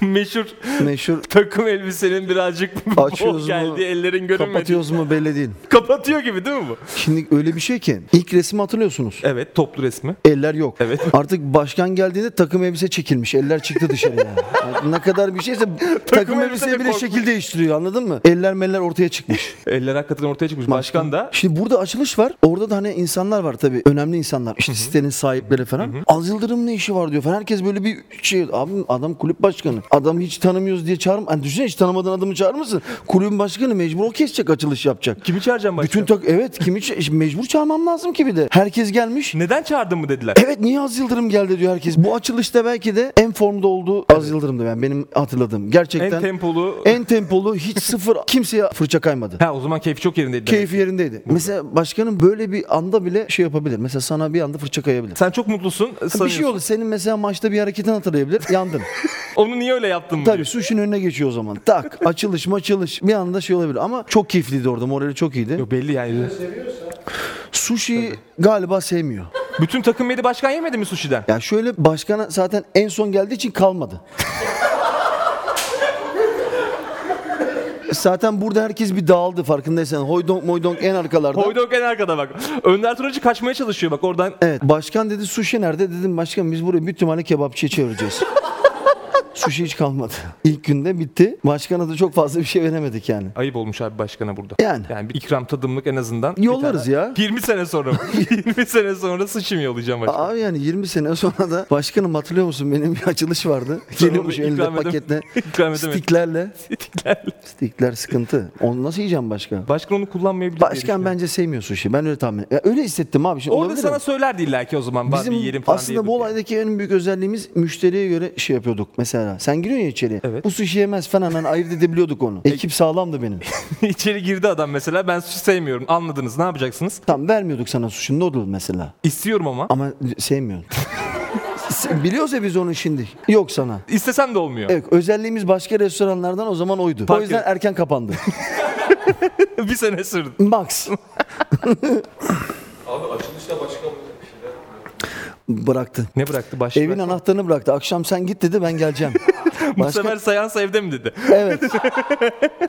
Speaker 2: Meşhur
Speaker 1: Meşhur
Speaker 2: takım elbisenin birazcık bol
Speaker 1: Açıyoruz mu,
Speaker 2: geldi, ellerin görünmedi.
Speaker 1: kapatıyoruz mu belli değil.
Speaker 2: Kapatıyor gibi değil mi bu?
Speaker 1: Şimdi öyle bir şey ki ilk resmi hatırlıyorsunuz.
Speaker 2: Evet, toplu resmi.
Speaker 1: Eller yok.
Speaker 2: Evet.
Speaker 1: <laughs> Artık başkan geldiğinde takım elbise çekilmiş. Eller çıktı dışarıya. Yani ne kadar bir
Speaker 2: <laughs>
Speaker 1: şeyse takım
Speaker 2: elbise de
Speaker 1: elbise bile
Speaker 2: korkmuş.
Speaker 1: şekil değiştiriyor anladın mı? Eller meller ortaya
Speaker 2: <laughs>
Speaker 1: çıkmış.
Speaker 2: Eller hakikaten ortaya çıkmış. Başkan da
Speaker 1: Şimdi burada açılış var. Orada da hani insanlar var tabii. Önemli insanlar. İşte sitenin sahipleri falan. Az Yıldırım ne işi var diyor falan. Herkes böyle bir şey. Abi adam kulüp başkanı. Adam hiç tanımıyoruz diye çağırma. Hani düşünsene hiç tanımadığın adamı çağırmışsın. Kulübün başkanı mecbur o kesecek açılış yapacak.
Speaker 2: kimi çağıracağım başkan?
Speaker 1: Bütün tak evet kimi ç- mecbur çağırmam lazım ki bir de. Herkes gelmiş.
Speaker 2: Neden çağırdın mı dediler.
Speaker 1: Evet niye Az Yıldırım geldi diyor herkes. Bu açılışta belki de en formda olduğu Az Yıldırım'dı ben benim hatırladığım. Gerçekten
Speaker 2: en tempolu.
Speaker 1: en tempolu hiç sıfır
Speaker 2: <laughs>
Speaker 1: kimseye fırça kaymadı.
Speaker 2: Ha o zaman keyfi çok yerindeydi. demek.
Speaker 1: Keyfi yerindeydi. Mesela başkanın böyle bir anda bile şey yapabilir. Mesela sana bir anda fırça kayabilir.
Speaker 2: Sen çok mutlusun.
Speaker 1: bir şey
Speaker 2: sanıyorsun.
Speaker 1: oldu. Senin mesela maçta bir hareketin hatırlayabilir.
Speaker 2: <laughs>
Speaker 1: Yandın.
Speaker 2: Onu niye öyle yaptın mı?
Speaker 1: Tabii
Speaker 2: diyor.
Speaker 1: suşun önüne geçiyor o zaman. Tak açılış maçılış bir anda şey olabilir. Ama çok keyifliydi orada. Morali çok iyiydi.
Speaker 2: Yok belli yani.
Speaker 1: Sushi galiba sevmiyor.
Speaker 2: Bütün takım yedi başkan yemedi mi sushi'den?
Speaker 1: Ya şöyle başkana zaten en son geldiği için kalmadı. zaten burada herkes bir dağıldı farkındaysan. Hoydonk moydonk en arkalarda.
Speaker 2: Hoydok en arkada bak. Önder Turacı kaçmaya çalışıyor bak oradan.
Speaker 1: Evet başkan dedi suşi nerede? Dedim başkan biz burayı bir tümhane kebapçıya çevireceğiz. <laughs> suşi hiç kalmadı. İlk günde bitti. Başkana da çok fazla bir şey veremedik yani.
Speaker 2: Ayıp olmuş abi başkana burada.
Speaker 1: Yani.
Speaker 2: Yani bir ikram tadımlık en azından. bir
Speaker 1: Yollarız
Speaker 2: tane-
Speaker 1: ya.
Speaker 2: 20 sene sonra.
Speaker 1: <laughs>
Speaker 2: 20 sene sonra sıçım yollayacağım başkana.
Speaker 1: Abi yani 20 sene sonra da başkanım hatırlıyor musun benim bir açılış vardı. Geliyormuş
Speaker 2: onu
Speaker 1: elinde
Speaker 2: ikram edem-
Speaker 1: paketle.
Speaker 2: ikram edemedim.
Speaker 1: Stiklerle. Stikler sıkıntı. Onu nasıl yiyeceğim başka?
Speaker 2: Başkan onu kullanmayabilir. diye
Speaker 1: Başkan
Speaker 2: düşünüyorum.
Speaker 1: bence sevmiyor sushi. Ben öyle tahmin Ya öyle hissettim abi. Şimdi
Speaker 2: Orada
Speaker 1: olabilir
Speaker 2: sana
Speaker 1: mi?
Speaker 2: söylerdi illa ki o zaman. Bizim
Speaker 1: Bizim
Speaker 2: bir yerim falan
Speaker 1: aslında
Speaker 2: diyordu
Speaker 1: bu
Speaker 2: diye.
Speaker 1: olaydaki en büyük özelliğimiz müşteriye göre şey yapıyorduk. Mesela sen giriyorsun ya içeriye.
Speaker 2: Evet.
Speaker 1: Bu sushi yemez falan hani ayırt edebiliyorduk
Speaker 2: <laughs>
Speaker 1: onu. Ekip sağlamdı benim.
Speaker 2: İçeri girdi adam mesela ben sushi sevmiyorum. Anladınız ne yapacaksınız?
Speaker 1: Tam vermiyorduk sana sushi noodle mesela.
Speaker 2: İstiyorum ama.
Speaker 1: Ama sevmiyorsun.
Speaker 2: <laughs>
Speaker 1: Se- Biliyoruz ya biz onu şimdi. Yok sana.
Speaker 2: İstesem de olmuyor.
Speaker 1: Evet özelliğimiz başka restoranlardan o zaman oydu.
Speaker 2: Fark
Speaker 1: o yüzden
Speaker 2: et-
Speaker 1: erken
Speaker 2: <laughs>
Speaker 1: kapandı.
Speaker 2: bir sene sürdü. <laughs>
Speaker 1: Max. <laughs>
Speaker 4: Abi açılışta başka bir şeyler.
Speaker 1: Bıraktı.
Speaker 2: Ne bıraktı başkan?
Speaker 1: Evin anahtarını bıraktı. Akşam sen git dedi ben geleceğim.
Speaker 2: <laughs> Bu sefer seans evde mi dedi?
Speaker 1: Evet.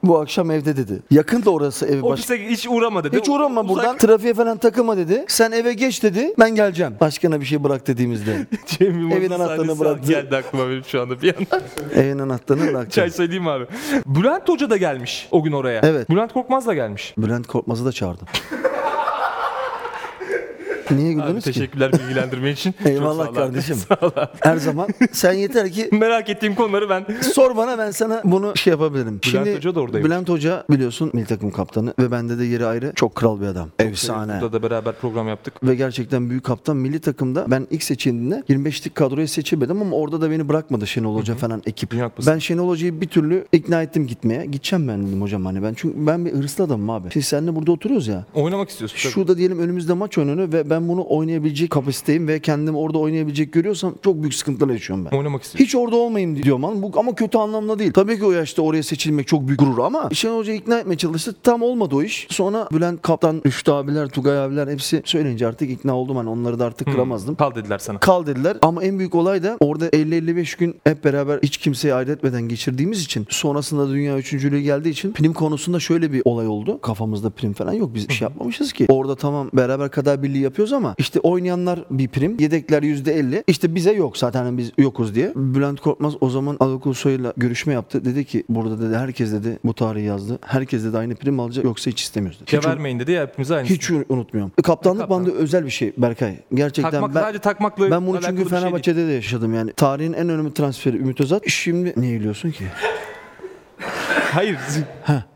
Speaker 1: Bu akşam evde dedi. Yakın da orası evi baş.
Speaker 2: Ofise hiç uğramadı.
Speaker 1: Hiç uğrama buradan.
Speaker 2: <laughs>
Speaker 1: Trafiğe falan takılma dedi. Sen eve geç dedi. Ben geleceğim. Başkana bir şey bırak
Speaker 2: <laughs>
Speaker 1: dediğimizde.
Speaker 2: Evin anahtarını bıraktı. Geldi aklıma benim şu anda bir an.
Speaker 1: Evin anahtarını
Speaker 2: Çay
Speaker 1: bırakacağım.
Speaker 2: söyleyeyim mi abi. Bülent Hoca da gelmiş o gün oraya.
Speaker 1: Evet.
Speaker 2: Bülent Korkmaz da gelmiş.
Speaker 1: Bülent Korkmaz'ı da
Speaker 2: <laughs>
Speaker 1: çağırdım. Niye
Speaker 2: Abi
Speaker 1: güldünüz ki?
Speaker 2: teşekkürler
Speaker 1: <laughs>
Speaker 2: bilgilendirme için. Çok <laughs> sağ ol
Speaker 1: Eyvallah
Speaker 2: abi.
Speaker 1: kardeşim. Her zaman. Sen yeter ki
Speaker 2: Merak ettiğim konuları ben
Speaker 1: sor bana ben sana bunu şey yapabilirim.
Speaker 2: Hoca da oradaymış.
Speaker 1: Bülent Hoca biliyorsun milli takım kaptanı ve bende de yeri ayrı. Çok kral bir adam. Efsane.
Speaker 2: burada da beraber program yaptık.
Speaker 1: ve gerçekten büyük kaptan milli takımda ben ilk seçildiğimde 25'lik kadroya seçilmedim ama orada da beni bırakmadı Şenol Hoca falan ekip.
Speaker 2: Dünya Kupası.
Speaker 1: Ben Şenol Hoca'yı bir türlü ikna ettim gitmeye. Gideceğim ben dedim hocam hani ben çünkü ben bir hırslı adamım abi. Şimdi seninle burada oturuyoruz ya.
Speaker 2: Oynamak istiyorsun. tabii.
Speaker 1: Şurada diyelim önümüzde maç önünü ve ben bunu oynayabilecek kapasiteyim ve kendimi orada oynayabilecek görüyorsam çok büyük sıkıntılar yaşıyorum ben.
Speaker 2: Oynamak istiyorsun.
Speaker 1: Hiç orada olmayayım diyorum lan. Bu, ama kötü anlamda değil. Tabii ki o yaşta oraya seçilmek çok büyük gurur ama Şenol Hoca ikna etmeye çalıştı. Tam olmadı o iş. Sonra Bülent Kaptan, Rüştü abiler, Tugay abiler hepsi söyleyince artık ikna oldum. Hani onları da artık kıramazdım.
Speaker 2: Kal dediler sana.
Speaker 1: Kal dediler ama en büyük olay da orada 50-55 gün hep beraber hiç kimseye ayrı etmeden geçirdiğimiz için sonrasında dünya üçüncülüğü geldiği için prim konusunda şöyle bir olay oldu. Kafamızda prim falan yok biz bir şey yapmamışız ki. Orada tamam beraber kadar birliği yapıyoruz oynuyoruz ama işte oynayanlar bir prim, yedekler %50. İşte bize yok zaten hani biz yokuz diye. Bülent Korkmaz o zaman Alokul Soy'la görüşme yaptı. Dedi ki burada dedi herkes dedi bu tarihi yazdı. Herkes dedi aynı prim alacak yoksa hiç istemiyoruz dedi.
Speaker 2: Ya
Speaker 1: Hiç, un-
Speaker 2: vermeyin dedi ya hepimiz aynı.
Speaker 1: hiç un- unutmuyorum. E, Kaptanlık
Speaker 2: Kaptan.
Speaker 1: bandı özel bir şey Berkay. Gerçekten
Speaker 2: Takmak
Speaker 1: ben...
Speaker 2: sadece takmakla
Speaker 1: Ben bunu
Speaker 2: alakalı
Speaker 1: çünkü
Speaker 2: bir şey değil.
Speaker 1: Fenerbahçe'de de yaşadım yani. Tarihin en önemli transferi Ümit Özat. Şimdi niye gülüyorsun ki?
Speaker 2: <laughs> Hayır.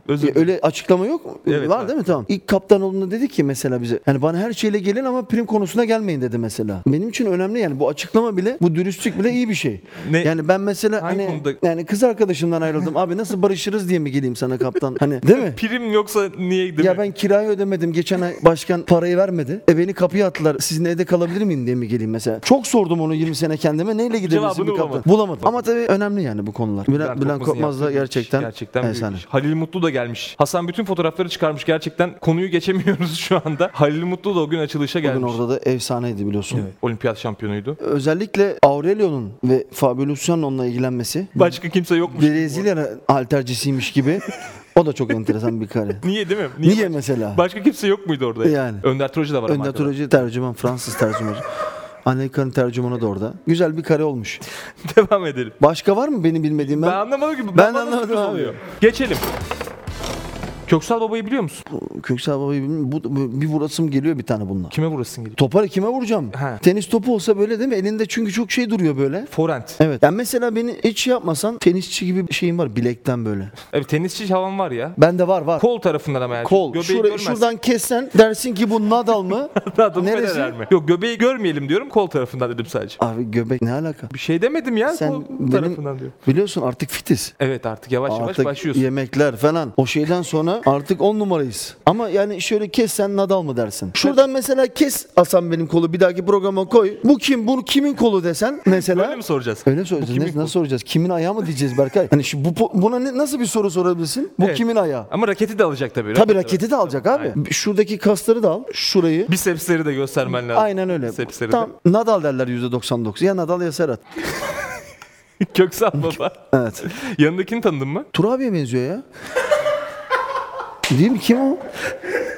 Speaker 2: Özür
Speaker 1: Ya öyle açıklama yok mu?
Speaker 2: Evet,
Speaker 1: var
Speaker 2: var.
Speaker 1: değil mi? Tamam. İlk kaptan olduğunda dedi ki mesela bize yani bana her şeyle gelin ama prim konusuna gelmeyin dedi mesela. Benim için önemli yani bu açıklama bile bu dürüstlük bile iyi bir şey.
Speaker 2: Ne-
Speaker 1: Yani ben mesela
Speaker 2: Hangi
Speaker 1: hani
Speaker 2: konuda?
Speaker 1: yani kız arkadaşımdan ayrıldım. Abi nasıl barışırız diye mi geleyim sana kaptan? Hani değil mi?
Speaker 2: Prim yoksa niye gidelim?
Speaker 1: Ya ben kirayı ödemedim. Geçen ay başkan parayı vermedi. E beni kapıya attılar. Sizin evde kalabilir miyim diye mi geleyim mesela? Çok sordum onu 20 sene kendime. Neyle gidebilirsin
Speaker 2: Cevabını
Speaker 1: bir kaptan?
Speaker 2: bulamadım.
Speaker 1: Bulamadım. Ama tabii önemli yani bu konular. Bülent, Bülent
Speaker 2: Korkmaz'ın
Speaker 1: Korkmaz da
Speaker 2: yaptığı bir iş.
Speaker 1: gerçekten,
Speaker 2: gerçekten büyük
Speaker 1: efsane.
Speaker 2: iş. Halil Mutlu da gelmiş. Hasan bütün fotoğrafları çıkarmış. Gerçekten konuyu geçemiyoruz <laughs> şu anda. Halil Mutlu da o gün açılışa
Speaker 1: Bugün
Speaker 2: gelmiş.
Speaker 1: orada da efsaneydi biliyorsun.
Speaker 2: Olimpiyat şampiyonuydu.
Speaker 1: Özellikle Aurelio'nun ve Fabio Luciano'nun onunla ilgilenmesi
Speaker 2: Başka kimse yokmuş.
Speaker 1: Brezilya altercisiymiş gibi. O da çok enteresan bir kare.
Speaker 2: <laughs> Niye değil mi?
Speaker 1: Niye, mesela?
Speaker 2: Başka kimse yok muydu orada?
Speaker 1: Yani.
Speaker 2: Önder Troji de var. ama
Speaker 1: Önder
Speaker 2: arkada.
Speaker 1: Turacı tercüman, Fransız tercümanı. Amerikan tercümanı da orada. Güzel bir kare olmuş.
Speaker 2: <laughs> Devam edelim.
Speaker 1: Başka var mı benim bilmediğim?
Speaker 2: Ben,
Speaker 1: Ben,
Speaker 2: anlamadım ki.
Speaker 1: Ben
Speaker 2: bana
Speaker 1: anlamadım
Speaker 2: sürpriz
Speaker 1: abi.
Speaker 2: oluyor. Geçelim. Köksal Baba'yı biliyor musun?
Speaker 1: Köksal Baba'yı bilmiyorum. Bu, bu- bir vurasım geliyor bir tane bununla.
Speaker 2: Kime vurasın gibi?
Speaker 1: Topar kime vuracağım?
Speaker 2: He.
Speaker 1: Tenis topu olsa böyle değil mi? Elinde çünkü çok şey duruyor böyle.
Speaker 2: Forent.
Speaker 1: Evet. Yani mesela beni hiç şey yapmasan tenisçi gibi bir şeyim var bilekten böyle.
Speaker 2: Evet tenisçi havan var ya.
Speaker 1: Bende var var.
Speaker 2: Kol tarafından ama yani.
Speaker 1: Kol.
Speaker 2: Göbeği
Speaker 1: Şura-
Speaker 2: görmezsin.
Speaker 1: şuradan kessen dersin ki bu Nadal mı?
Speaker 2: <laughs> Adam
Speaker 1: Neresi?
Speaker 2: Federer mi? Yok göbeği görmeyelim diyorum kol tarafından dedim sadece.
Speaker 1: Abi göbek ne alaka?
Speaker 2: Bir şey demedim ya
Speaker 1: Sen
Speaker 2: kol
Speaker 1: benim-
Speaker 2: tarafından diyor.
Speaker 1: Biliyorsun artık fitiz.
Speaker 2: Evet artık yavaş yavaş
Speaker 1: artık
Speaker 2: başlıyorsun.
Speaker 1: yemekler falan. O şeyden sonra artık on numarayız. Ama yani şöyle kes sen Nadal mı dersin? Şuradan mesela kes Hasan benim kolu bir dahaki programa koy. Bu kim? Bu kimin kolu desen mesela.
Speaker 2: Öyle mi soracağız?
Speaker 1: Öyle soracağız.
Speaker 2: kimin
Speaker 1: Ne-
Speaker 2: kolu?
Speaker 1: nasıl soracağız? Kimin ayağı mı diyeceğiz Berkay? Hani şu bu po- buna ne- nasıl bir soru sorabilirsin? Bu
Speaker 2: Evet.
Speaker 1: kimin ayağı?
Speaker 2: Ama raketi de alacak tabii.
Speaker 1: Tabii raketi de alacak abi.
Speaker 2: Aynen.
Speaker 1: Şuradaki kasları da al. Şurayı.
Speaker 2: Bisepsleri de göstermen lazım.
Speaker 1: Aynen öyle.
Speaker 2: Bisepsleri
Speaker 1: Tam Nadal derler %99. Ya Nadal ya Serhat.
Speaker 2: de. <laughs> Köksal baba.
Speaker 1: Evet.
Speaker 2: Yanındakini tanıdın mı?
Speaker 1: Turabi'ye benziyor
Speaker 2: <laughs>
Speaker 1: ya. değil mi? Kim o?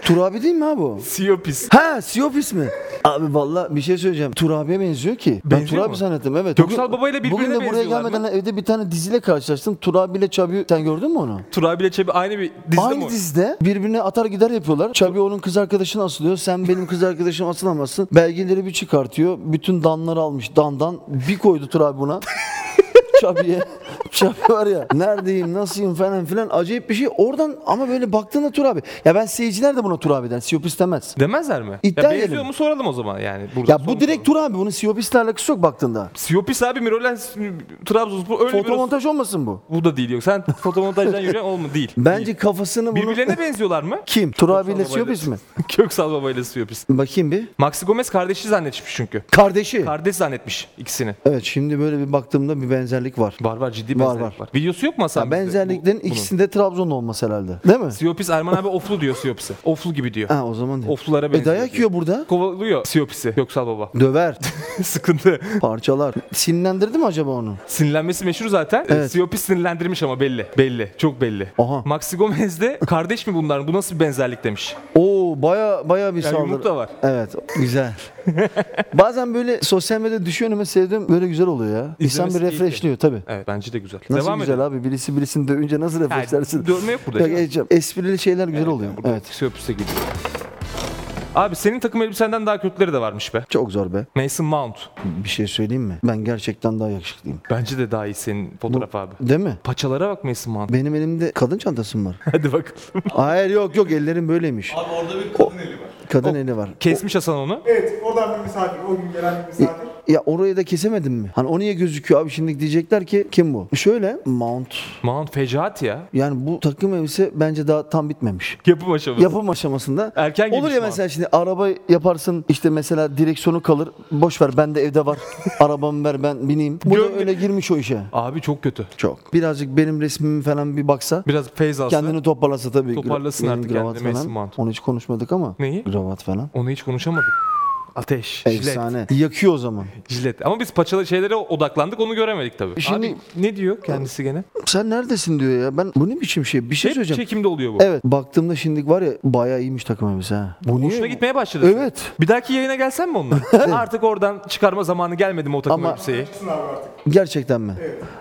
Speaker 1: Turabi değil mi abi o?
Speaker 2: Siyopis.
Speaker 1: Ha Siyopis mi? Abi valla bir şey söyleyeceğim. Turabi'ye benziyor ki. ben
Speaker 2: Benziyor
Speaker 1: Turabi
Speaker 2: mu?
Speaker 1: zannettim evet.
Speaker 2: Köksal
Speaker 1: Bugün-
Speaker 2: Baba ile birbirine
Speaker 1: Bugün de buraya
Speaker 2: benziyorlar
Speaker 1: gelmeden evde bir tane diziyle karşılaştım. Turabi ile Çabi sen gördün mü onu?
Speaker 2: Turabi ile Çebi aynı bir dizide mi?
Speaker 1: Aynı
Speaker 2: o?
Speaker 1: dizide birbirine atar gider yapıyorlar. Çabi onun kız arkadaşına asılıyor. Sen benim kız arkadaşım asılamazsın. Belgeleri bir çıkartıyor. Bütün danları almış dandan. Bir koydu Turabi buna. <laughs> Çabi'ye. Çabi var ya neredeyim nasılyım falan filan acayip bir şey. Oradan ama böyle baktığında Turabi. Ya ben seyirciler de buna Turabi der. Siyopis demez.
Speaker 2: Demezler mi?
Speaker 1: İddia
Speaker 2: ya benziyor
Speaker 1: edelim.
Speaker 2: mu soralım o zaman yani. Burada
Speaker 1: Ya bu direkt Turabi. Bunun Siyopis'le alakası yok baktığında.
Speaker 2: Siyopis abi Mirolen Trabzonspor öyle bir...
Speaker 1: Fotomontaj olmasın bu.
Speaker 2: Bu da değil yok. Sen fotomontajdan
Speaker 1: <laughs>
Speaker 2: yürüyen olma değil.
Speaker 1: Bence kafasını bunu...
Speaker 2: Birbirlerine benziyorlar mı?
Speaker 1: <laughs> Kim? Turabi ile
Speaker 2: Babayla.
Speaker 1: Siyopis mi?
Speaker 2: Köksal Baba ile Siyopis.
Speaker 1: Bakayım bir.
Speaker 2: Maxi Gomez kardeşi zannetmiş çünkü.
Speaker 1: Kardeşi.
Speaker 2: Kardeş zannetmiş ikisini.
Speaker 1: Evet şimdi böyle bir baktığımda bir benzerlik var.
Speaker 2: Var var ciddi
Speaker 1: Var,
Speaker 2: benzerlik var.
Speaker 1: var.
Speaker 2: Videosu yok mu
Speaker 1: Ya
Speaker 2: Hasan? bizde?
Speaker 1: benzerliklerin
Speaker 2: Bu- bunun?
Speaker 1: ikisinde Trabzon'da olması herhalde. Değil mi?
Speaker 2: Siyopis Erman abi oflu diyor Siyopis'e. Oflu
Speaker 1: <laughs>
Speaker 2: gibi diyor.
Speaker 1: Ha o zaman değil.
Speaker 2: Oflulara
Speaker 1: E
Speaker 2: benziyor.
Speaker 1: dayak
Speaker 2: diyor.
Speaker 1: yiyor burada.
Speaker 2: Kovalıyor Siyopis'i Köksal Baba. <laughs>
Speaker 1: Döver.
Speaker 2: Sıkıntı.
Speaker 1: Parçalar. Sinirlendirdi mi acaba onu?
Speaker 2: Sinirlenmesi meşhur zaten. E,
Speaker 1: Evet.
Speaker 2: Siyopis sinirlendirmiş ama belli. Belli. Çok belli.
Speaker 1: Aha.
Speaker 2: Maxi Gomez de kardeş mi bunlar? Bu nasıl bir benzerlik demiş.
Speaker 1: Oo baya baya bir
Speaker 2: Ya
Speaker 1: saldırı.
Speaker 2: yumruk da var.
Speaker 1: Evet güzel. Bazen böyle sosyal medyada düşüyor önüme sevdiğim böyle güzel oluyor ya. İnsan
Speaker 2: İzlemesi
Speaker 1: bir
Speaker 2: keyifli.
Speaker 1: refreshliyor tabii.
Speaker 2: Evet bence de güzel.
Speaker 1: Nasıl
Speaker 2: Devam
Speaker 1: güzel
Speaker 2: edelim.
Speaker 1: abi birisi birisini dövünce nasıl refreshlersin?
Speaker 2: dövme yok burada.
Speaker 1: Ya geçeceğim. Esprili şeyler güzel oluyor.
Speaker 2: Burada
Speaker 1: Evet.
Speaker 2: Siyopiste gidiyor. Abi senin takım elbisenden daha kötüleri de varmış be.
Speaker 1: Çok zor be.
Speaker 2: Mason Mount.
Speaker 1: Bir şey söyleyeyim mi? Ben gerçekten daha yakışıklıyım.
Speaker 2: Bence de daha iyi senin fotoğraf abi.
Speaker 1: Değil mi?
Speaker 2: Paçalara bak Mason Mount. <laughs>
Speaker 1: Benim elimde kadın çantasım var.
Speaker 2: Hadi bakalım.
Speaker 1: Hayır yok yok ellerim böyleymiş.
Speaker 4: Abi orada bir kadın eli var.
Speaker 1: Kadın eli var. E,
Speaker 2: Kesmiş Hasan onu.
Speaker 3: Evet, oradan bir misafir, o gün gelen bir misafir.
Speaker 1: Ya orayı da kesemedim mi? Hani o niye gözüküyor abi şimdi diyecekler ki kim bu? Şöyle Mount
Speaker 2: Mount fecaat ya.
Speaker 1: yani bu takım elbise bence daha tam bitmemiş.
Speaker 2: Yapım aşaması.
Speaker 1: Yapım aşamasında
Speaker 2: Erken
Speaker 1: olur
Speaker 2: giymiş
Speaker 1: ya
Speaker 2: Mount.
Speaker 1: mesela şimdi araba yaparsın işte mesela direksiyonu kalır boş ver bende evde
Speaker 2: <laughs>
Speaker 1: var arabamı ver ben bineyim. Bu da
Speaker 2: Gömle-
Speaker 1: öyle girmiş o işe.
Speaker 2: Abi çok kötü.
Speaker 1: Çok. Birazcık benim resmimi falan bir baksa
Speaker 2: Biraz feyz alsa.
Speaker 1: kendini toparlasa tabii.
Speaker 2: Toparlasın
Speaker 1: Benim
Speaker 2: artık
Speaker 1: kravat
Speaker 2: kendini Mason
Speaker 1: falan.
Speaker 2: Mount.
Speaker 1: Onu hiç konuşmadık ama.
Speaker 2: Neyi?
Speaker 1: Kravat falan.
Speaker 2: Onu hiç konuşamadık. Ateş. Jilet.
Speaker 1: Efsane. Yakıyor o zaman.
Speaker 2: Jilet. Ama biz paçalı şeylere odaklandık onu göremedik tabii.
Speaker 1: Şimdi-
Speaker 2: Abi, ne diyor kendisi gene?
Speaker 1: Sen neredesin diyor ya. Ben bu ne biçim şey? Bir şey
Speaker 2: Hep
Speaker 1: söyleyeceğim.
Speaker 2: çekimde oluyor bu.
Speaker 1: Evet baktığımda şimdi var ya bayağı iyiymiş takım elbise ha. Bu niye?
Speaker 2: Hoşuna gitmeye başladı.
Speaker 1: Evet.
Speaker 2: Bir dahaki yayına gelsen
Speaker 1: <laughs>
Speaker 2: mi onunla? Artık oradan çıkarma zamanı gelmedi mi o takım
Speaker 1: Ama-
Speaker 2: elbiseyi?
Speaker 3: Çıksın abi artık.
Speaker 1: Gerçekten mi?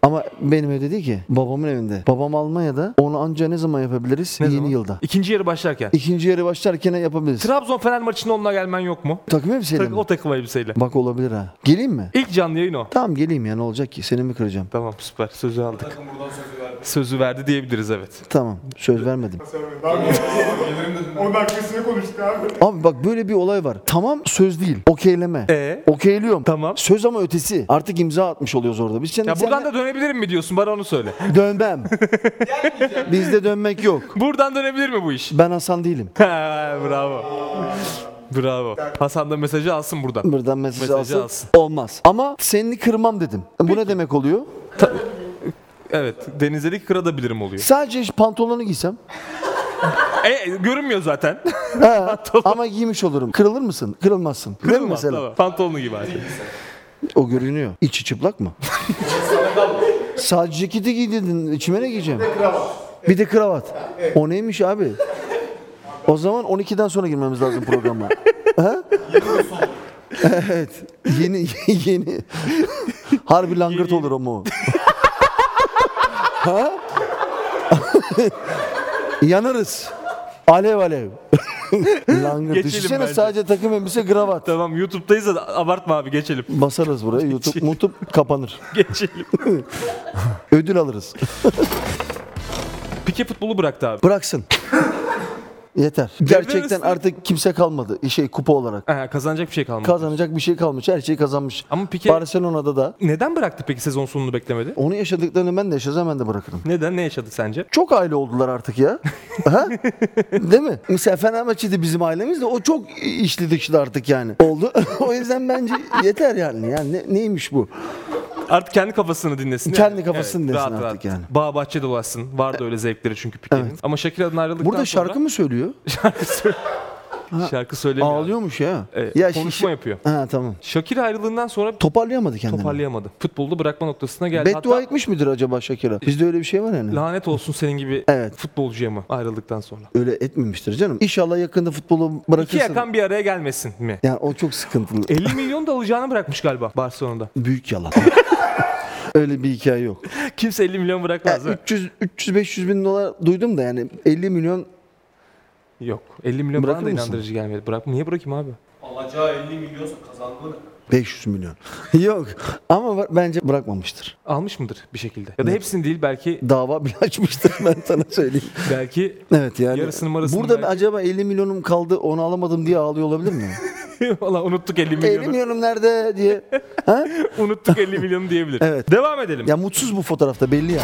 Speaker 1: Ama benim evde değil ki. Babamın evinde. Babam Almanya'da. Onu anca ne zaman yapabiliriz?
Speaker 2: Ne
Speaker 1: Yeni
Speaker 2: zaman?
Speaker 1: yılda.
Speaker 2: İkinci yarı başlarken.
Speaker 1: İkinci yarı başlarken yapabiliriz.
Speaker 2: Trabzon Fener maçında onunla gelmen yok mu?
Speaker 1: takım elbiseyle mi?
Speaker 2: O takım elbiseyle.
Speaker 1: Bak olabilir ha. Geleyim mi?
Speaker 2: İlk canlı yayın o.
Speaker 1: Tamam geleyim ya ne olacak ki? Seni mi kıracağım?
Speaker 2: Tamam süper sözü aldık.
Speaker 4: Takım buradan sözü verdi.
Speaker 2: Sözü verdi diyebiliriz evet.
Speaker 1: Tamam söz vermedim.
Speaker 3: Nasıl yapayım? Daha bir
Speaker 4: Gelirim dedim.
Speaker 3: 10 dakikasını konuştuk abi.
Speaker 1: Abi bak böyle bir olay var. Tamam söz değil. Okeyleme.
Speaker 2: E?
Speaker 1: Okeyliyorum.
Speaker 2: Tamam.
Speaker 1: Söz ama ötesi. Artık imza atmış oluyoruz orada. Biz sen,
Speaker 2: Ya buradan da dönebilirim mi diyorsun bana onu söyle. <laughs>
Speaker 1: dönmem. Bizde dönmek yok.
Speaker 2: buradan dönebilir mi bu iş? <laughs>
Speaker 1: Ben Hasan değilim.
Speaker 2: Ha, Bravo. Bravo. Hasan da mesajı alsın buradan.
Speaker 1: Buradan mesaj,
Speaker 2: Mesajı
Speaker 1: alsın.
Speaker 2: alsın.
Speaker 1: Olmaz. Ama seni kırmam dedim. Bu ne demek oluyor?
Speaker 2: Evet. Denizleri kırabilirim oluyor.
Speaker 1: Sadece pantolonu giysem.
Speaker 2: E, görünmüyor zaten.
Speaker 1: <laughs> He, ama giymiş olurum. Kırılır mısın? Kırılmazsın. Değil mi
Speaker 2: Kırılmaz,
Speaker 1: mesela?
Speaker 2: tamam. Pantolonu gibi artık.
Speaker 1: O görünüyor. İçi çıplak
Speaker 2: <laughs>
Speaker 1: mı? Sadece ceketi giydirdin. İçime ne giyeceğim? Bir de kravat. O neymiş abi? O zaman 12'den sonra girmemiz lazım
Speaker 2: <laughs>
Speaker 1: programa. Ha? evet. Yeni <laughs> yeni. Harbi langırt olur o
Speaker 2: <laughs>
Speaker 1: mu? ha? Yanarız. Alev
Speaker 2: <laughs>
Speaker 1: alev. langırt.
Speaker 2: Geçelim
Speaker 1: Düşünsene
Speaker 2: bence.
Speaker 1: sadece takım elbise kravat.
Speaker 2: <laughs> Tamam YouTube'dayız da abartma abi geçelim. <laughs>
Speaker 1: Basarız buraya. YouTube, YouTube kapanır.
Speaker 2: Geçelim.
Speaker 1: Ödül alırız.
Speaker 2: Pike futbolu bıraktı abi.
Speaker 1: Bıraksın. <laughs> Yeter. Gerçekten
Speaker 2: arasında-
Speaker 1: artık kimse kalmadı. Şey kupa olarak.
Speaker 2: Ha, kazanacak bir şey kalmadı.
Speaker 1: Kazanacak bir şey kalmış. Her şeyi kazanmış.
Speaker 2: Ama Pique-
Speaker 1: Barcelona'da da
Speaker 2: Neden bıraktı peki sezon sonunu beklemedi?
Speaker 1: onu yaşadıklarını ben de yaşasam ben de bırakırım.
Speaker 2: Neden? Ne yaşadık sence?
Speaker 1: Çok aile oldular artık
Speaker 2: <laughs>
Speaker 1: ya. ha? Değil mi? Mesela Fenerbahçe'de bizim ailemiz de o çok işli dışlı artık yani. Oldu. <laughs> o yüzden bence yeter yani. Yani ne- neymiş bu?
Speaker 2: Artık kendi kafasını dinlesin.
Speaker 1: Kendi kafasını dinlesin
Speaker 2: rahat
Speaker 1: artık
Speaker 2: rahat.
Speaker 1: yani.
Speaker 2: Bağ bahçe dolaşsın. Vardı öyle zevkleri çünkü Pike'nin. Ama Şakir'den ayrıldıktan
Speaker 1: Burada
Speaker 2: sonra... Şey,
Speaker 1: şarkı mı söylüyor?
Speaker 2: Şarkı söyle. <laughs> şarkı söylemiyor.
Speaker 1: Ağlıyormuş ya.
Speaker 2: Evet,
Speaker 1: ya
Speaker 2: e, konuşma
Speaker 1: şişe-
Speaker 2: yapıyor.
Speaker 1: Ha tamam.
Speaker 2: Şakir ayrılığından sonra
Speaker 1: Toparlayamadı kendini.
Speaker 2: toparlayamadı. Futbolda bırakma noktasına geldi.
Speaker 1: Beddua
Speaker 2: Hatta
Speaker 1: etmiş midir acaba Shakira? Bizde öyle bir şey var yani.
Speaker 2: lanet olsun senin gibi
Speaker 1: Evet.
Speaker 2: futbolcuya mı ayrıldıktan sonra?
Speaker 1: öyle etmemiştir canım. İnşallah yakında futbolu
Speaker 2: İki
Speaker 1: bırakırsın.
Speaker 2: yakan bir araya gelmesin mi?
Speaker 1: Yani o çok sıkıntılı. E,
Speaker 2: 50 milyon da alacağını bırakmış galiba
Speaker 1: <laughs>
Speaker 2: Barcelona'da.
Speaker 1: Büyük
Speaker 2: <laughs>
Speaker 1: yalan. öyle bir hikaye yok.
Speaker 2: Kimse 50 milyon
Speaker 1: Ya
Speaker 2: bırakmaz. değil mi?
Speaker 1: 300 300 500 bin dolar duydum da yani 50 milyon
Speaker 2: Yok. 50 milyon bana
Speaker 1: Bırakır
Speaker 2: da
Speaker 1: mısın?
Speaker 2: inandırıcı gelmedi. Bırak, niye bırakayım abi?
Speaker 4: Alacağı 50 milyonsa kazandığı ne?
Speaker 1: 500 milyon. <laughs> yok. Ama var- bence bırakmamıştır.
Speaker 2: Almış mıdır bir şekilde? Ya da hepsini değil belki
Speaker 1: Dava bile <laughs> açmıştır ben sana söyleyeyim. <laughs>
Speaker 2: belki <laughs>
Speaker 1: Evet yani.
Speaker 2: Yarısını marasını
Speaker 1: Burada
Speaker 2: belki.
Speaker 1: acaba 50 milyonum kaldı onu alamadım diye ağlıyor olabilir mi?
Speaker 2: valla unuttuk 50 <laughs> milyonu.
Speaker 1: 50 milyonum nerede diye. Ha?
Speaker 2: <laughs> unuttuk 50 milyonu diyebilir.
Speaker 1: Evet.
Speaker 2: Devam edelim.
Speaker 1: Ya mutsuz bu fotoğrafta belli ya.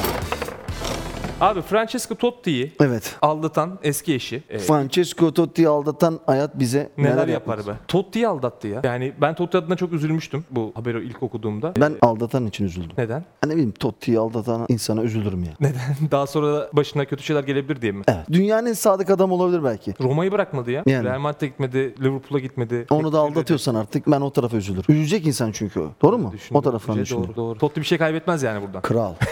Speaker 2: Abi Francesco Totti'yi
Speaker 1: Evet.
Speaker 2: aldatan eski eşi e,
Speaker 1: Francesco Totti'yi aldatan hayat bize
Speaker 2: neler,
Speaker 1: neler,
Speaker 2: yapar
Speaker 1: yapmaz.
Speaker 2: be? Totti'yi aldattı ya. Yani ben Totti adına çok üzülmüştüm bu haberi ilk okuduğumda.
Speaker 1: Ben aldatan için üzüldüm.
Speaker 2: Neden?
Speaker 1: Ha, Ne bileyim Totti'yi aldatan insana üzülürüm ya.
Speaker 2: <laughs> Neden? Daha sonra da başına kötü şeyler gelebilir diye mi?
Speaker 1: Evet. Dünyanın en sadık adamı olabilir belki.
Speaker 2: Roma'yı bırakmadı ya.
Speaker 1: Yani.
Speaker 2: Real Madrid'e gitmedi, Liverpool'a gitmedi.
Speaker 1: Onu da aldatıyorsan artık ben o tarafa üzülürüm. Üzecek insan çünkü o. Doğru mu?
Speaker 2: Düşündü,
Speaker 1: O taraftan
Speaker 2: düşündü.
Speaker 1: düşündüm.
Speaker 2: Doğru, doğru. Totti bir şey kaybetmez yani buradan.
Speaker 1: Kral. <laughs>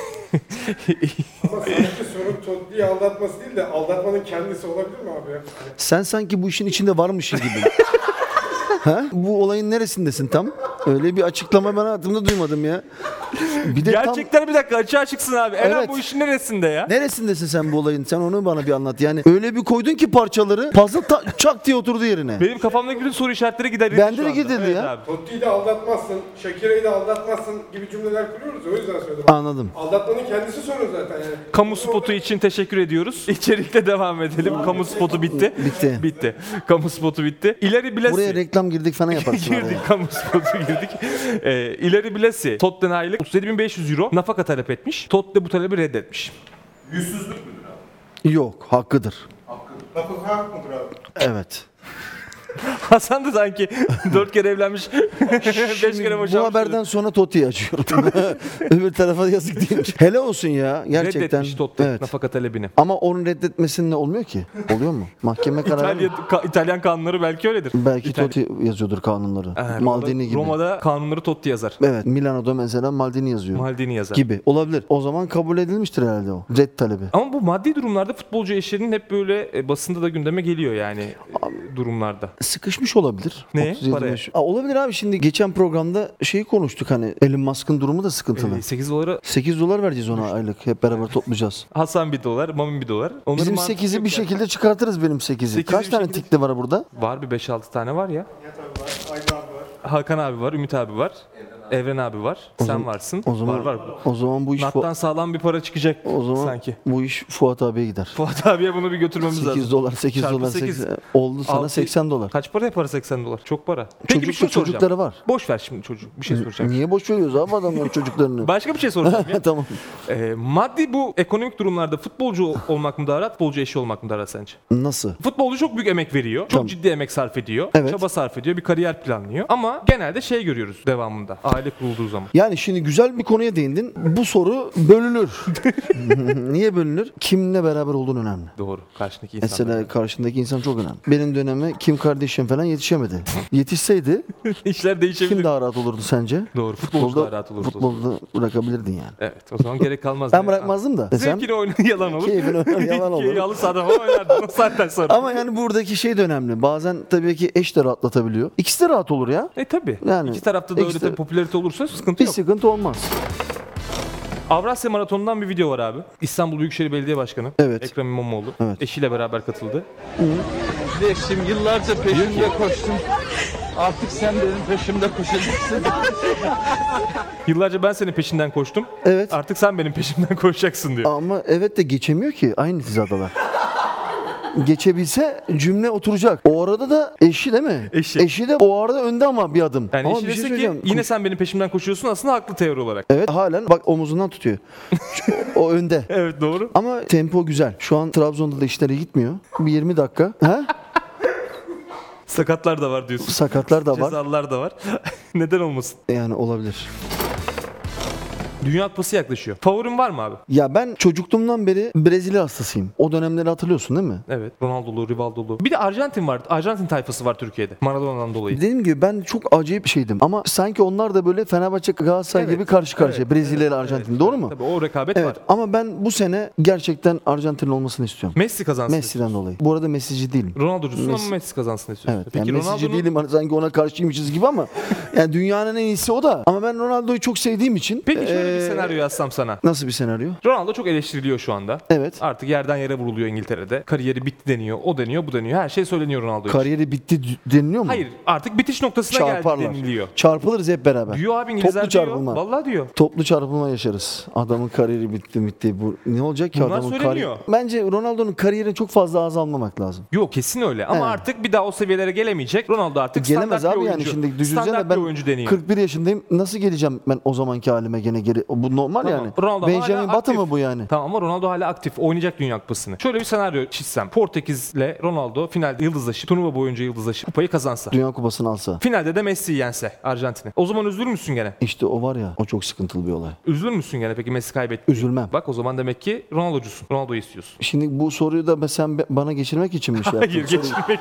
Speaker 3: Ama sanki sorun Totti'yi aldatması değil de aldatmanın kendisi olabilir mi abi ya? Hani
Speaker 1: Sen sanki bu işin içinde varmışsın gibi.
Speaker 2: <laughs>
Speaker 1: ha? Bu olayın neresindesin tam? Öyle bir açıklama ben hayatımda duymadım ya. Bir de tam
Speaker 2: Gerçekler bir dakika açığa çıksın abi. Eren
Speaker 1: Evet.
Speaker 2: bu işin neresinde ya?
Speaker 1: neresindesin sen bu olayın? Sen onu bana bir anlat. Yani öyle bir koydun ki parçaları fazla ta- çak diye oturdu yerine.
Speaker 2: Benim kafamdaki bütün soru işaretleri giderildi
Speaker 1: Bende
Speaker 2: şu
Speaker 1: de
Speaker 2: anda.
Speaker 1: giderildi
Speaker 2: Evet
Speaker 1: ya.
Speaker 2: Abi.
Speaker 3: Totti'yi de aldatmazsın, Shakira'yı de aldatmazsın gibi cümleler kuruyoruz o yüzden söyledim.
Speaker 1: Anladım.
Speaker 3: Aldatmanın kendisi sorun zaten yani.
Speaker 2: Kamu spotu için teşekkür ediyoruz. <laughs> İçerikte devam edelim. Kamu spotu bitti.
Speaker 1: Bitti.
Speaker 2: Bitti. Kamu spotu bitti. İleri Bilesi.
Speaker 1: Buraya
Speaker 2: <laughs>
Speaker 1: reklam girdik falan yaparsın.
Speaker 2: girdik.
Speaker 1: araya.
Speaker 2: Kamu spotu girdik. Ee, İleri Bilesi. Totten'e aylık 37.500 euro nafaka talep etmiş. Totte bu talebi reddetmiş.
Speaker 4: Yüzsüzlük müdür abi?
Speaker 1: Yok hakkıdır.
Speaker 4: Hakkı.
Speaker 3: Lafı hak mıdır abi?
Speaker 1: Evet.
Speaker 2: Hasan
Speaker 1: <laughs>
Speaker 2: da sanki 4 kere evlenmiş, 5 kere boşanmış.
Speaker 1: Bu haberden sonra Totti'yi açıyorum. Öbür tarafa yazık değil. Hele olsun ya gerçekten.
Speaker 2: Reddetmiş Totti
Speaker 1: Evet.
Speaker 2: nafaka talebini.
Speaker 1: Ama onun reddetmesinle olmuyor ki. Oluyor mu? Mahkeme kararı.
Speaker 2: İtalya,
Speaker 1: mı?
Speaker 2: ka- İtalyan kanunları belki öyledir.
Speaker 1: Belki
Speaker 2: İtalya-
Speaker 1: Totti yazıyordur kanunları.
Speaker 2: Ha, Roma'da-
Speaker 1: Maldini gibi.
Speaker 2: Roma'da kanunları Totti yazar.
Speaker 1: Evet. Milano'da mesela Maldini yazıyor.
Speaker 2: Maldini yazar.
Speaker 1: gibi olabilir. O zaman kabul edilmiştir herhalde o. Red talebi.
Speaker 2: Ama bu maddi durumlarda futbolcu eşlerinin hep böyle e, basında da gündeme geliyor yani e, durumlarda.
Speaker 1: Sıkışmış olabilir.
Speaker 2: Neye?
Speaker 1: 37
Speaker 2: Paraya.
Speaker 1: yaş- Aa, olabilir abi şimdi geçen programda şeyi konuştuk hani Elon Musk'ın durumu da sıkıntılı.
Speaker 2: 8 E, dolara
Speaker 1: 8 dolar vereceğiz ona aylık hep beraber toplayacağız.
Speaker 2: Hasan 1 dolar, Mamin 1 dolar. Onların
Speaker 1: Bizim
Speaker 2: mantığı
Speaker 1: 8'i
Speaker 2: yok
Speaker 1: bir
Speaker 2: ya.
Speaker 1: şekilde çıkartırız benim 8'i.
Speaker 2: Sekizi
Speaker 1: Kaç
Speaker 2: bir
Speaker 1: tane
Speaker 2: şekilde-
Speaker 1: tikli var burada?
Speaker 2: Var bir 5-6 tane var ya.
Speaker 3: Nihat abi var, Aydın abi var.
Speaker 2: Hakan abi var, Ümit abi var. Evren abi, var. Sen varsın.
Speaker 1: O zaman
Speaker 2: var var.
Speaker 1: o zaman bu iş Fu-
Speaker 2: Nattan sağlam bir para çıkacak
Speaker 1: o zaman
Speaker 2: sanki.
Speaker 1: bu iş Fuat abiye gider.
Speaker 2: Fuat abiye bunu bir götürmemiz
Speaker 1: 8
Speaker 2: lazım.
Speaker 1: dolar 8
Speaker 2: Çarpı
Speaker 1: dolar
Speaker 2: sekiz.
Speaker 1: 8 oldu sana
Speaker 2: Altı-
Speaker 1: 80 dolar.
Speaker 2: Kaç para yapar 80 dolar? Çok para. Peki bir
Speaker 1: Çocuk-
Speaker 2: şey soracağım.
Speaker 1: çocukları var.
Speaker 2: Boş ver şimdi çocuğu. Bir şey soracağım.
Speaker 1: Niye boş veriyoruz abi
Speaker 2: <laughs>
Speaker 1: adamların çocuklarını?
Speaker 2: Başka bir şey soracağım ya.
Speaker 1: <laughs> tamam.
Speaker 2: Ee, maddi bu ekonomik durumlarda futbolcu ol- olmak mı daha rahat, futbolcu eşi olmak mı daha rahat sence?
Speaker 1: Nasıl?
Speaker 2: Futbolcu çok büyük emek veriyor. Çok
Speaker 1: Tamam.
Speaker 2: ciddi emek sarf ediyor.
Speaker 1: Evet.
Speaker 2: Çaba sarf ediyor. Bir kariyer planlıyor. Ama genelde şey görüyoruz devamında. Aile kurulduğu zaman.
Speaker 1: Yani şimdi güzel bir konuya değindin. Bu soru
Speaker 2: <laughs>
Speaker 1: bölünür. <laughs> Niye bölünür? Kimle beraber olduğun önemli.
Speaker 2: Doğru. Karşındaki insan.
Speaker 1: Mesela karşındaki insan çok önemli. Benim döneme Kim Kardashian falan yetişemedi. Yetişseydi
Speaker 2: <laughs> İşler değişebilir.
Speaker 1: kim daha rahat olurdu sence?
Speaker 2: Doğru. Futbolcu daha rahat olurdu.
Speaker 1: Futbolda bırakabilirdin yani.
Speaker 2: Evet. O zaman gerek kalmaz.
Speaker 1: Ben bırakmazdım da desem.
Speaker 2: Zevkini oynayan <laughs> yalan olur.
Speaker 1: Keyfini oynayan yalan olur.
Speaker 2: Keyfi alırsa adam oynardı. O saatten sonra.
Speaker 1: Ama yani buradaki şey de önemli. Bazen tabii ki eş de rahatlatabiliyor. İkisi de rahat olur ya.
Speaker 2: E tabi.
Speaker 1: Yani
Speaker 2: İki tarafta da öyle
Speaker 1: ekstra-
Speaker 2: tabii popülarite olursa sıkıntı
Speaker 1: Bir
Speaker 2: yok.
Speaker 1: sıkıntı olmaz.
Speaker 2: Avrasya Maratonu'ndan bir video var abi. İstanbul Büyükşehir Belediye Başkanı
Speaker 1: Evet.
Speaker 2: Ekrem İmamoğlu
Speaker 1: Evet.
Speaker 2: eşiyle beraber katıldı.
Speaker 5: Kardeşim yıllarca peşimde koştum. Artık sen benim peşimde koşacaksın.
Speaker 2: <laughs> Yıllarca ben senin peşinden koştum.
Speaker 1: Evet.
Speaker 2: Artık sen benim peşimden <laughs> koşacaksın diyor.
Speaker 1: Ama evet de geçemiyor ki aynı hizadalar. Geçebilse cümle oturacak. O arada da eşi değil mi?
Speaker 2: Eşi.
Speaker 1: de o arada önde ama bir adım.
Speaker 2: Yani
Speaker 1: ama
Speaker 2: eşi
Speaker 1: bir şey
Speaker 2: dese ki
Speaker 1: söyleyeceğim.
Speaker 2: yine sen benim peşimden koşuyorsun aslında haklı teori olarak.
Speaker 1: Evet halen bak omuzundan tutuyor. Şu- o önde.
Speaker 2: Evet doğru.
Speaker 1: Ama tempo güzel. Şu an Trabzon'da da işleri gitmiyor. Bir 20 dakika. Ha?
Speaker 2: Sakatlar da var diyorsun.
Speaker 1: Sakatlar da var.
Speaker 2: Cezalılar da var. <laughs> Neden olmasın?
Speaker 1: Yani olabilir.
Speaker 2: Dünya Kupası yaklaşıyor. Favorin var mı abi?
Speaker 1: Ya ben çocukluğumdan beri Brezilya hastasıyım. O dönemleri hatırlıyorsun değil mi?
Speaker 2: Evet. Ronaldo'lu, Rivaldo'lu. Bir de Arjantin var. Arjantin tayfası var Türkiye'de. Maradona'dan dolayı.
Speaker 1: Dediğim gibi ben çok acayip bir şeydim. Ama sanki onlar da böyle Fenerbahçe Galatasaray
Speaker 2: Evet,
Speaker 1: gibi karşı karşıya.
Speaker 2: evet,
Speaker 1: Brezilya ile Arjantin. Doğru mu?
Speaker 2: Tabii o rekabet
Speaker 1: Evet
Speaker 2: var.
Speaker 1: ama ben bu sene gerçekten Arjantin'in olmasını istiyorum.
Speaker 2: Messi kazansın.
Speaker 1: Messi'den dolayı. Bu arada Messi'ci değilim.
Speaker 2: Ronaldo'cusun ama
Speaker 1: Messi.
Speaker 2: Messi kazansın istiyorsun.
Speaker 1: Evet.
Speaker 2: Peki
Speaker 1: yani Messi'ci
Speaker 2: Ronaldo'nun
Speaker 1: değilim hani sanki ona karşıymışız gibi
Speaker 2: <laughs>
Speaker 1: ama yani dünyanın en iyisi o da. Ama ben Ronaldo'yu çok sevdiğim için
Speaker 2: Peki şöyle bir
Speaker 1: eee,
Speaker 2: senaryo yazsam sana.
Speaker 1: Nasıl bir senaryo?
Speaker 2: Ronaldo çok eleştiriliyor şu anda.
Speaker 1: Evet.
Speaker 2: Artık yerden yere vuruluyor İngiltere'de. Kariyeri bitti deniyor. O deniyor, bu deniyor. Her şey söyleniyor Ronaldo'ya.
Speaker 1: Kariyeri bitti d- deniliyor mu?
Speaker 2: Hayır, artık bitiş noktasına geldi
Speaker 1: Çarparlar.
Speaker 2: deniliyor.
Speaker 1: Çarpılırız hep beraber.
Speaker 2: Diyor abi İngilizler
Speaker 1: Toplu
Speaker 2: diyor.
Speaker 1: çarpılma.
Speaker 2: Vallahi diyor.
Speaker 1: Toplu çarpılma yaşarız. Adamın kariyeri bitti bitti. Bu ne olacak ki
Speaker 2: Bunlar
Speaker 1: adamın
Speaker 2: söyleniyor.
Speaker 1: kariyeri? Bence Ronaldo'nun kariyerini çok fazla ağza almamak lazım.
Speaker 2: Yok kesin öyle ama
Speaker 1: He.
Speaker 2: artık bir daha o seviyelere gelemeyecek. Ronaldo artık
Speaker 1: Gelemez
Speaker 2: standart
Speaker 1: abi
Speaker 2: bir
Speaker 1: yani
Speaker 2: oyuncu.
Speaker 1: şimdi düşünsene
Speaker 2: standart
Speaker 1: ben
Speaker 2: bir oyuncu deniyor.
Speaker 1: 41 yaşındayım. Nasıl geleceğim ben o zamanki halime gene geri? Bu normal
Speaker 2: Tamam,
Speaker 1: yani.
Speaker 2: Ronaldo hala
Speaker 1: Benjamin Batı
Speaker 2: aktif.
Speaker 1: mı bu yani?
Speaker 2: Tamam ama Ronaldo hala aktif. Oynayacak Dünya Kupası'nı. Şöyle bir senaryo çizsem. Portekiz'le Ronaldo finalde yıldızlaşıp, turnuva boyunca yıldızlaşıp kupayı kazansa.
Speaker 1: Dünya Kupası'nı alsa.
Speaker 2: Finalde de Messi'yi yense Arjantin'i. O zaman üzülür müsün gene?
Speaker 1: İşte o var ya o çok sıkıntılı bir olay.
Speaker 2: Üzülür müsün gene peki Messi kaybetti?
Speaker 1: Üzülmem.
Speaker 2: Bak o zaman demek ki Ronaldo'cusun. Ronaldo'yu istiyorsun.
Speaker 1: Şimdi bu soruyu da be- sen be- bana geçirmek için mi şey yaptın?
Speaker 2: Hayır
Speaker 1: Soruyu-
Speaker 2: geçirmek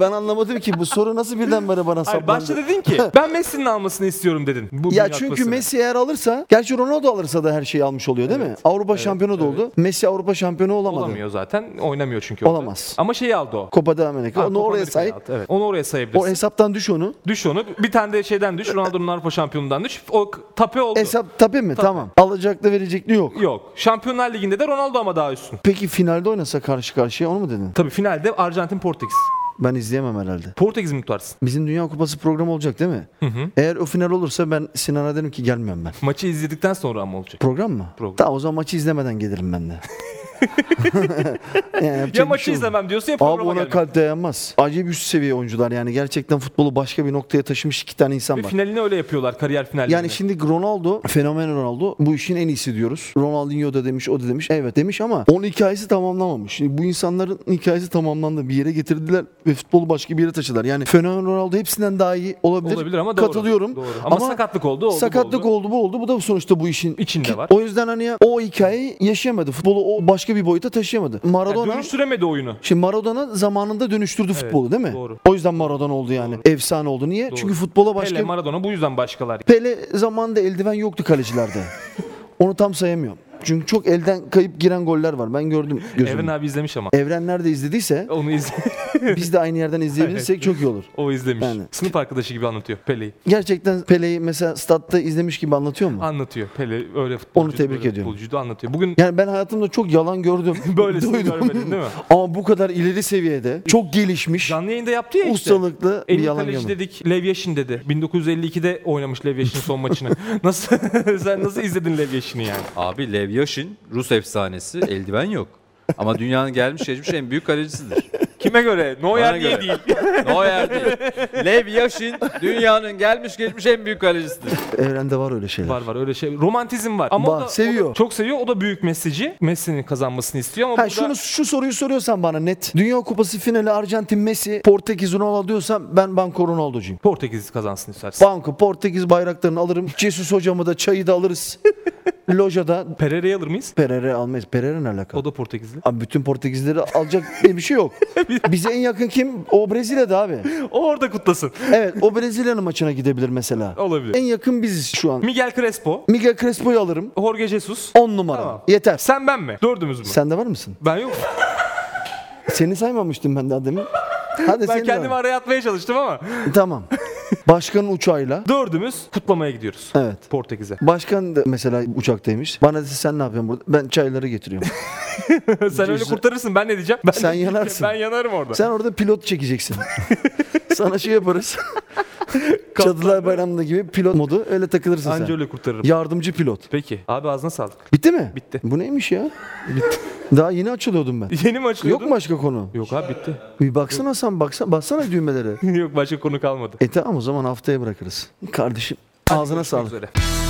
Speaker 1: <laughs> ben anlamadım ki bu soru nasıl birdenbire bana
Speaker 2: Hayır
Speaker 1: saplandı.
Speaker 2: başta
Speaker 1: <laughs>
Speaker 2: dedin ki ben Messi'nin almasını istiyorum dedin. Bu
Speaker 1: Ya
Speaker 2: Dünya
Speaker 1: çünkü
Speaker 2: Kupası'nı.
Speaker 1: Messi eğer alırsa, gerçi Ronaldo alırsa da her şeyi almış oluyor değil mi? Avrupa şampiyonu da oldu. Messi Avrupa şampiyonu olamadı.
Speaker 2: Olamıyor zaten. Oynamıyor çünkü. orada.
Speaker 1: Olamaz.
Speaker 2: Ama şeyi aldı o.
Speaker 1: Copa de America.
Speaker 2: Ha,
Speaker 1: onu
Speaker 2: Copa
Speaker 1: oraya
Speaker 2: Amerika'yı
Speaker 1: say.
Speaker 2: aldı, Evet. Onu oraya sayabilirsin.
Speaker 1: O hesaptan düş onu.
Speaker 2: Düş onu. Bir tane de şeyden düş. Ronaldo'nun Avrupa şampiyonundan düş. O k- tape oldu.
Speaker 1: Hesap tabii mi? Tamam. Alacaklı vericekli yok.
Speaker 2: Yok. Şampiyonlar Ligi'nde de Ronaldo ama daha üstün.
Speaker 1: Peki finalde oynasa karşı karşıya onu mu dedin?
Speaker 2: Tabii finalde Arjantin Portekiz.
Speaker 1: Ben izleyemem herhalde.
Speaker 2: Portekiz mi tutarsın?
Speaker 1: Bizim Dünya Kupası programı olacak değil mi? Eğer o final olursa ben Sinan'a derim ki gelmiyorum ben.
Speaker 2: Maçı izledikten sonra ama olacak.
Speaker 1: Program mı?
Speaker 2: Program. <laughs>
Speaker 1: Tamam o zaman maçı izlemeden gelirim ben de. <laughs> Yani yapacak
Speaker 2: Ya
Speaker 1: bir
Speaker 2: maçı
Speaker 1: şey yok.
Speaker 2: izlemem diyorsun ya
Speaker 1: Abi
Speaker 2: programa
Speaker 1: ona
Speaker 2: gelmem.
Speaker 1: kalp dayanmaz. Acayip üst seviye oyuncular yani. Gerçekten futbolu başka bir noktaya taşımış iki tane insan
Speaker 2: Ve
Speaker 1: var.
Speaker 2: finalini öyle yapıyorlar kariyer finallerini.
Speaker 1: Yani şimdi Ronaldo, fenomen Ronaldo bu işin en iyisi diyoruz. Ronaldinho da demiş, o da demiş. Evet demiş ama onun hikayesi tamamlanmamış. Şimdi bu insanların hikayesi tamamlandı. Bir yere getirdiler ve futbolu başka bir yere taşıdılar. Yani fenomen Ronaldo hepsinden daha iyi olabilir.
Speaker 2: olabilir ama doğru.
Speaker 1: Katılıyorum.
Speaker 2: Doğru. Ama, sakatlık oldu. oldu bu
Speaker 1: sakatlık
Speaker 2: oldu.
Speaker 1: oldu bu oldu. Bu da sonuçta bu işin
Speaker 2: İçinde var.
Speaker 1: O yüzden hani ya, o hikayeyi yaşayamadı. Futbolu o başka bir boyuta taşıyamadı.
Speaker 2: Yani
Speaker 1: Maradona
Speaker 2: dönüştüremedi oyunu.
Speaker 1: Şimdi Maradona zamanında dönüştürdü futbolu değil mi?
Speaker 2: doğru.
Speaker 1: O yüzden Maradona oldu yani. Efsane oldu. Niye? Çünkü futbola başka...
Speaker 2: Hele Maradona bu yüzden başkalar.
Speaker 1: Pele zamanında eldiven yoktu
Speaker 2: <laughs>
Speaker 1: kalecilerde. Onu tam sayamıyorum. Çünkü çok elden kayıp giren goller var. Ben gördüm gözümle.
Speaker 2: Evren
Speaker 1: Evren,
Speaker 2: abi izlemiş ama.
Speaker 1: nerede
Speaker 2: <laughs>
Speaker 1: izlediyse
Speaker 2: Onu iz
Speaker 1: biz de aynı yerden izleyebilirsek çok iyi olur.
Speaker 2: o izlemiş.
Speaker 1: Yani.
Speaker 2: Sınıf arkadaşı gibi anlatıyor Pele'yi.
Speaker 1: Gerçekten Pele'yi mesela statta izlemiş gibi anlatıyor mu?
Speaker 2: Anlatıyor. Pele öyle futbolcuydu.
Speaker 1: tebrik
Speaker 2: böyle
Speaker 1: ediyorum.
Speaker 2: Futbolcuydu anlatıyor. Bugün
Speaker 1: Yani ben hayatımda çok yalan gördüm.
Speaker 2: <laughs> böylesini
Speaker 1: duydum.
Speaker 2: görmedin değil mi?
Speaker 1: <laughs> Ama bu kadar ileri seviyede, çok gelişmiş,
Speaker 2: Canlı yayında yaptı ya işte.
Speaker 1: ustalıklı bir
Speaker 2: En iyi
Speaker 1: yalan
Speaker 2: kaleci
Speaker 1: görmedim.
Speaker 2: dedik Lev Yashin dedi. 1952'de oynamış Lev Yashin
Speaker 1: <laughs>
Speaker 2: son maçını. Nasıl <laughs> sen nasıl izledin Lev Yashin'i yani?
Speaker 6: Abi Lev Yashin Rus efsanesi eldiven yok. Ama dünyanın gelmiş geçmiş en büyük kalecisidir.
Speaker 2: Kime göre?
Speaker 6: Bana
Speaker 2: Neuer diye
Speaker 6: göre.
Speaker 2: değil.
Speaker 6: Neuer değil. Lev Yashin dünyanın gelmiş geçmiş en büyük kalecisidir.
Speaker 1: Evrende var öyle şeyler.
Speaker 2: Var var öyle şey. Romantizm var. Ama
Speaker 1: Var,
Speaker 2: o da,
Speaker 1: seviyor.
Speaker 2: o da çok seviyor. O da büyük Messi'ci. Messi'nin kazanmasını istiyor ama
Speaker 1: Ha,
Speaker 2: burada
Speaker 1: şunu şu soruyu soruyorsan bana net. Dünya Kupası finali Arjantin Messi, Portekiz Ronaldo diyorsan ben Banko Ronaldo'cuyum.
Speaker 2: Portekiz kazansın istersin.
Speaker 1: Banko Portekiz bayraklarını alırım. <laughs> Jesus hocamı da çayı da alırız. <laughs> Lojada
Speaker 2: Pereira'yı alır mıyız?
Speaker 1: Perere almayız. Perere ne alaka?
Speaker 2: O
Speaker 1: <laughs>
Speaker 2: da Portekizli.
Speaker 1: Abi bütün Portekizleri
Speaker 2: <laughs>
Speaker 1: alacak diye bir şey yok. Bize en yakın kim? O Brezilya'da abi.
Speaker 2: O orada kutlasın.
Speaker 1: Evet o Brezilya'nın maçına gidebilir mesela.
Speaker 2: <laughs> Olabilir.
Speaker 1: En yakın biziz şu an.
Speaker 2: Miguel Crespo,
Speaker 1: Miguel Crespo'yu alırım.
Speaker 2: Jorge Jesus.
Speaker 1: 10 numara.
Speaker 2: Tamam.
Speaker 1: Yeter.
Speaker 2: Sen ben mi? Dördümüz mü?
Speaker 1: Sen de var mısın?
Speaker 2: Ben yok.
Speaker 1: Seni saymamıştım ben daha demin. Hadi
Speaker 2: Ben
Speaker 1: seni de
Speaker 2: kendimi
Speaker 1: var.
Speaker 2: araya atmaya çalıştım ama. <laughs>
Speaker 1: Tamam. Başkanın uçağıyla.
Speaker 2: Dördümüz kutlamaya gidiyoruz.
Speaker 1: Evet.
Speaker 2: Portekiz'e.
Speaker 1: Başkan da mesela uçaktaymış. Bana dese sen ne yapıyorsun burada? Ben çayları
Speaker 2: <laughs>
Speaker 1: getiriyorum.
Speaker 2: Sen öyle kurtarırsın ben ne diyeceğim? Ben
Speaker 1: Sen yanarsın.
Speaker 2: Ben yanarım orada.
Speaker 1: sen orada pilot
Speaker 2: <laughs>
Speaker 1: çekeceksin. Sana şey yaparız. Çadılar Bayramı'nda gibi pilot modu öyle takılırsın
Speaker 2: Anca
Speaker 1: sen.
Speaker 2: öyle kurtarırım.
Speaker 1: Yardımcı pilot.
Speaker 2: Peki. Abi ağzına sağlık. <laughs>
Speaker 1: Bitti mi?
Speaker 2: Bitti.
Speaker 1: Bu neymiş ya? Daha yeni
Speaker 2: <laughs>
Speaker 1: açılıyordum ben.
Speaker 2: Yeni mi
Speaker 1: Yok
Speaker 2: açılıyordu?
Speaker 1: mu başka konu?
Speaker 2: Yok abi bitti. <laughs>
Speaker 1: Bir baksana sen baksana, baksana düğmelere.
Speaker 2: Yok başka konu kalmadı.
Speaker 1: E tamam o zaman haftaya bırakırız. Kardeşim ağzına sağlık.
Speaker 2: Üzere.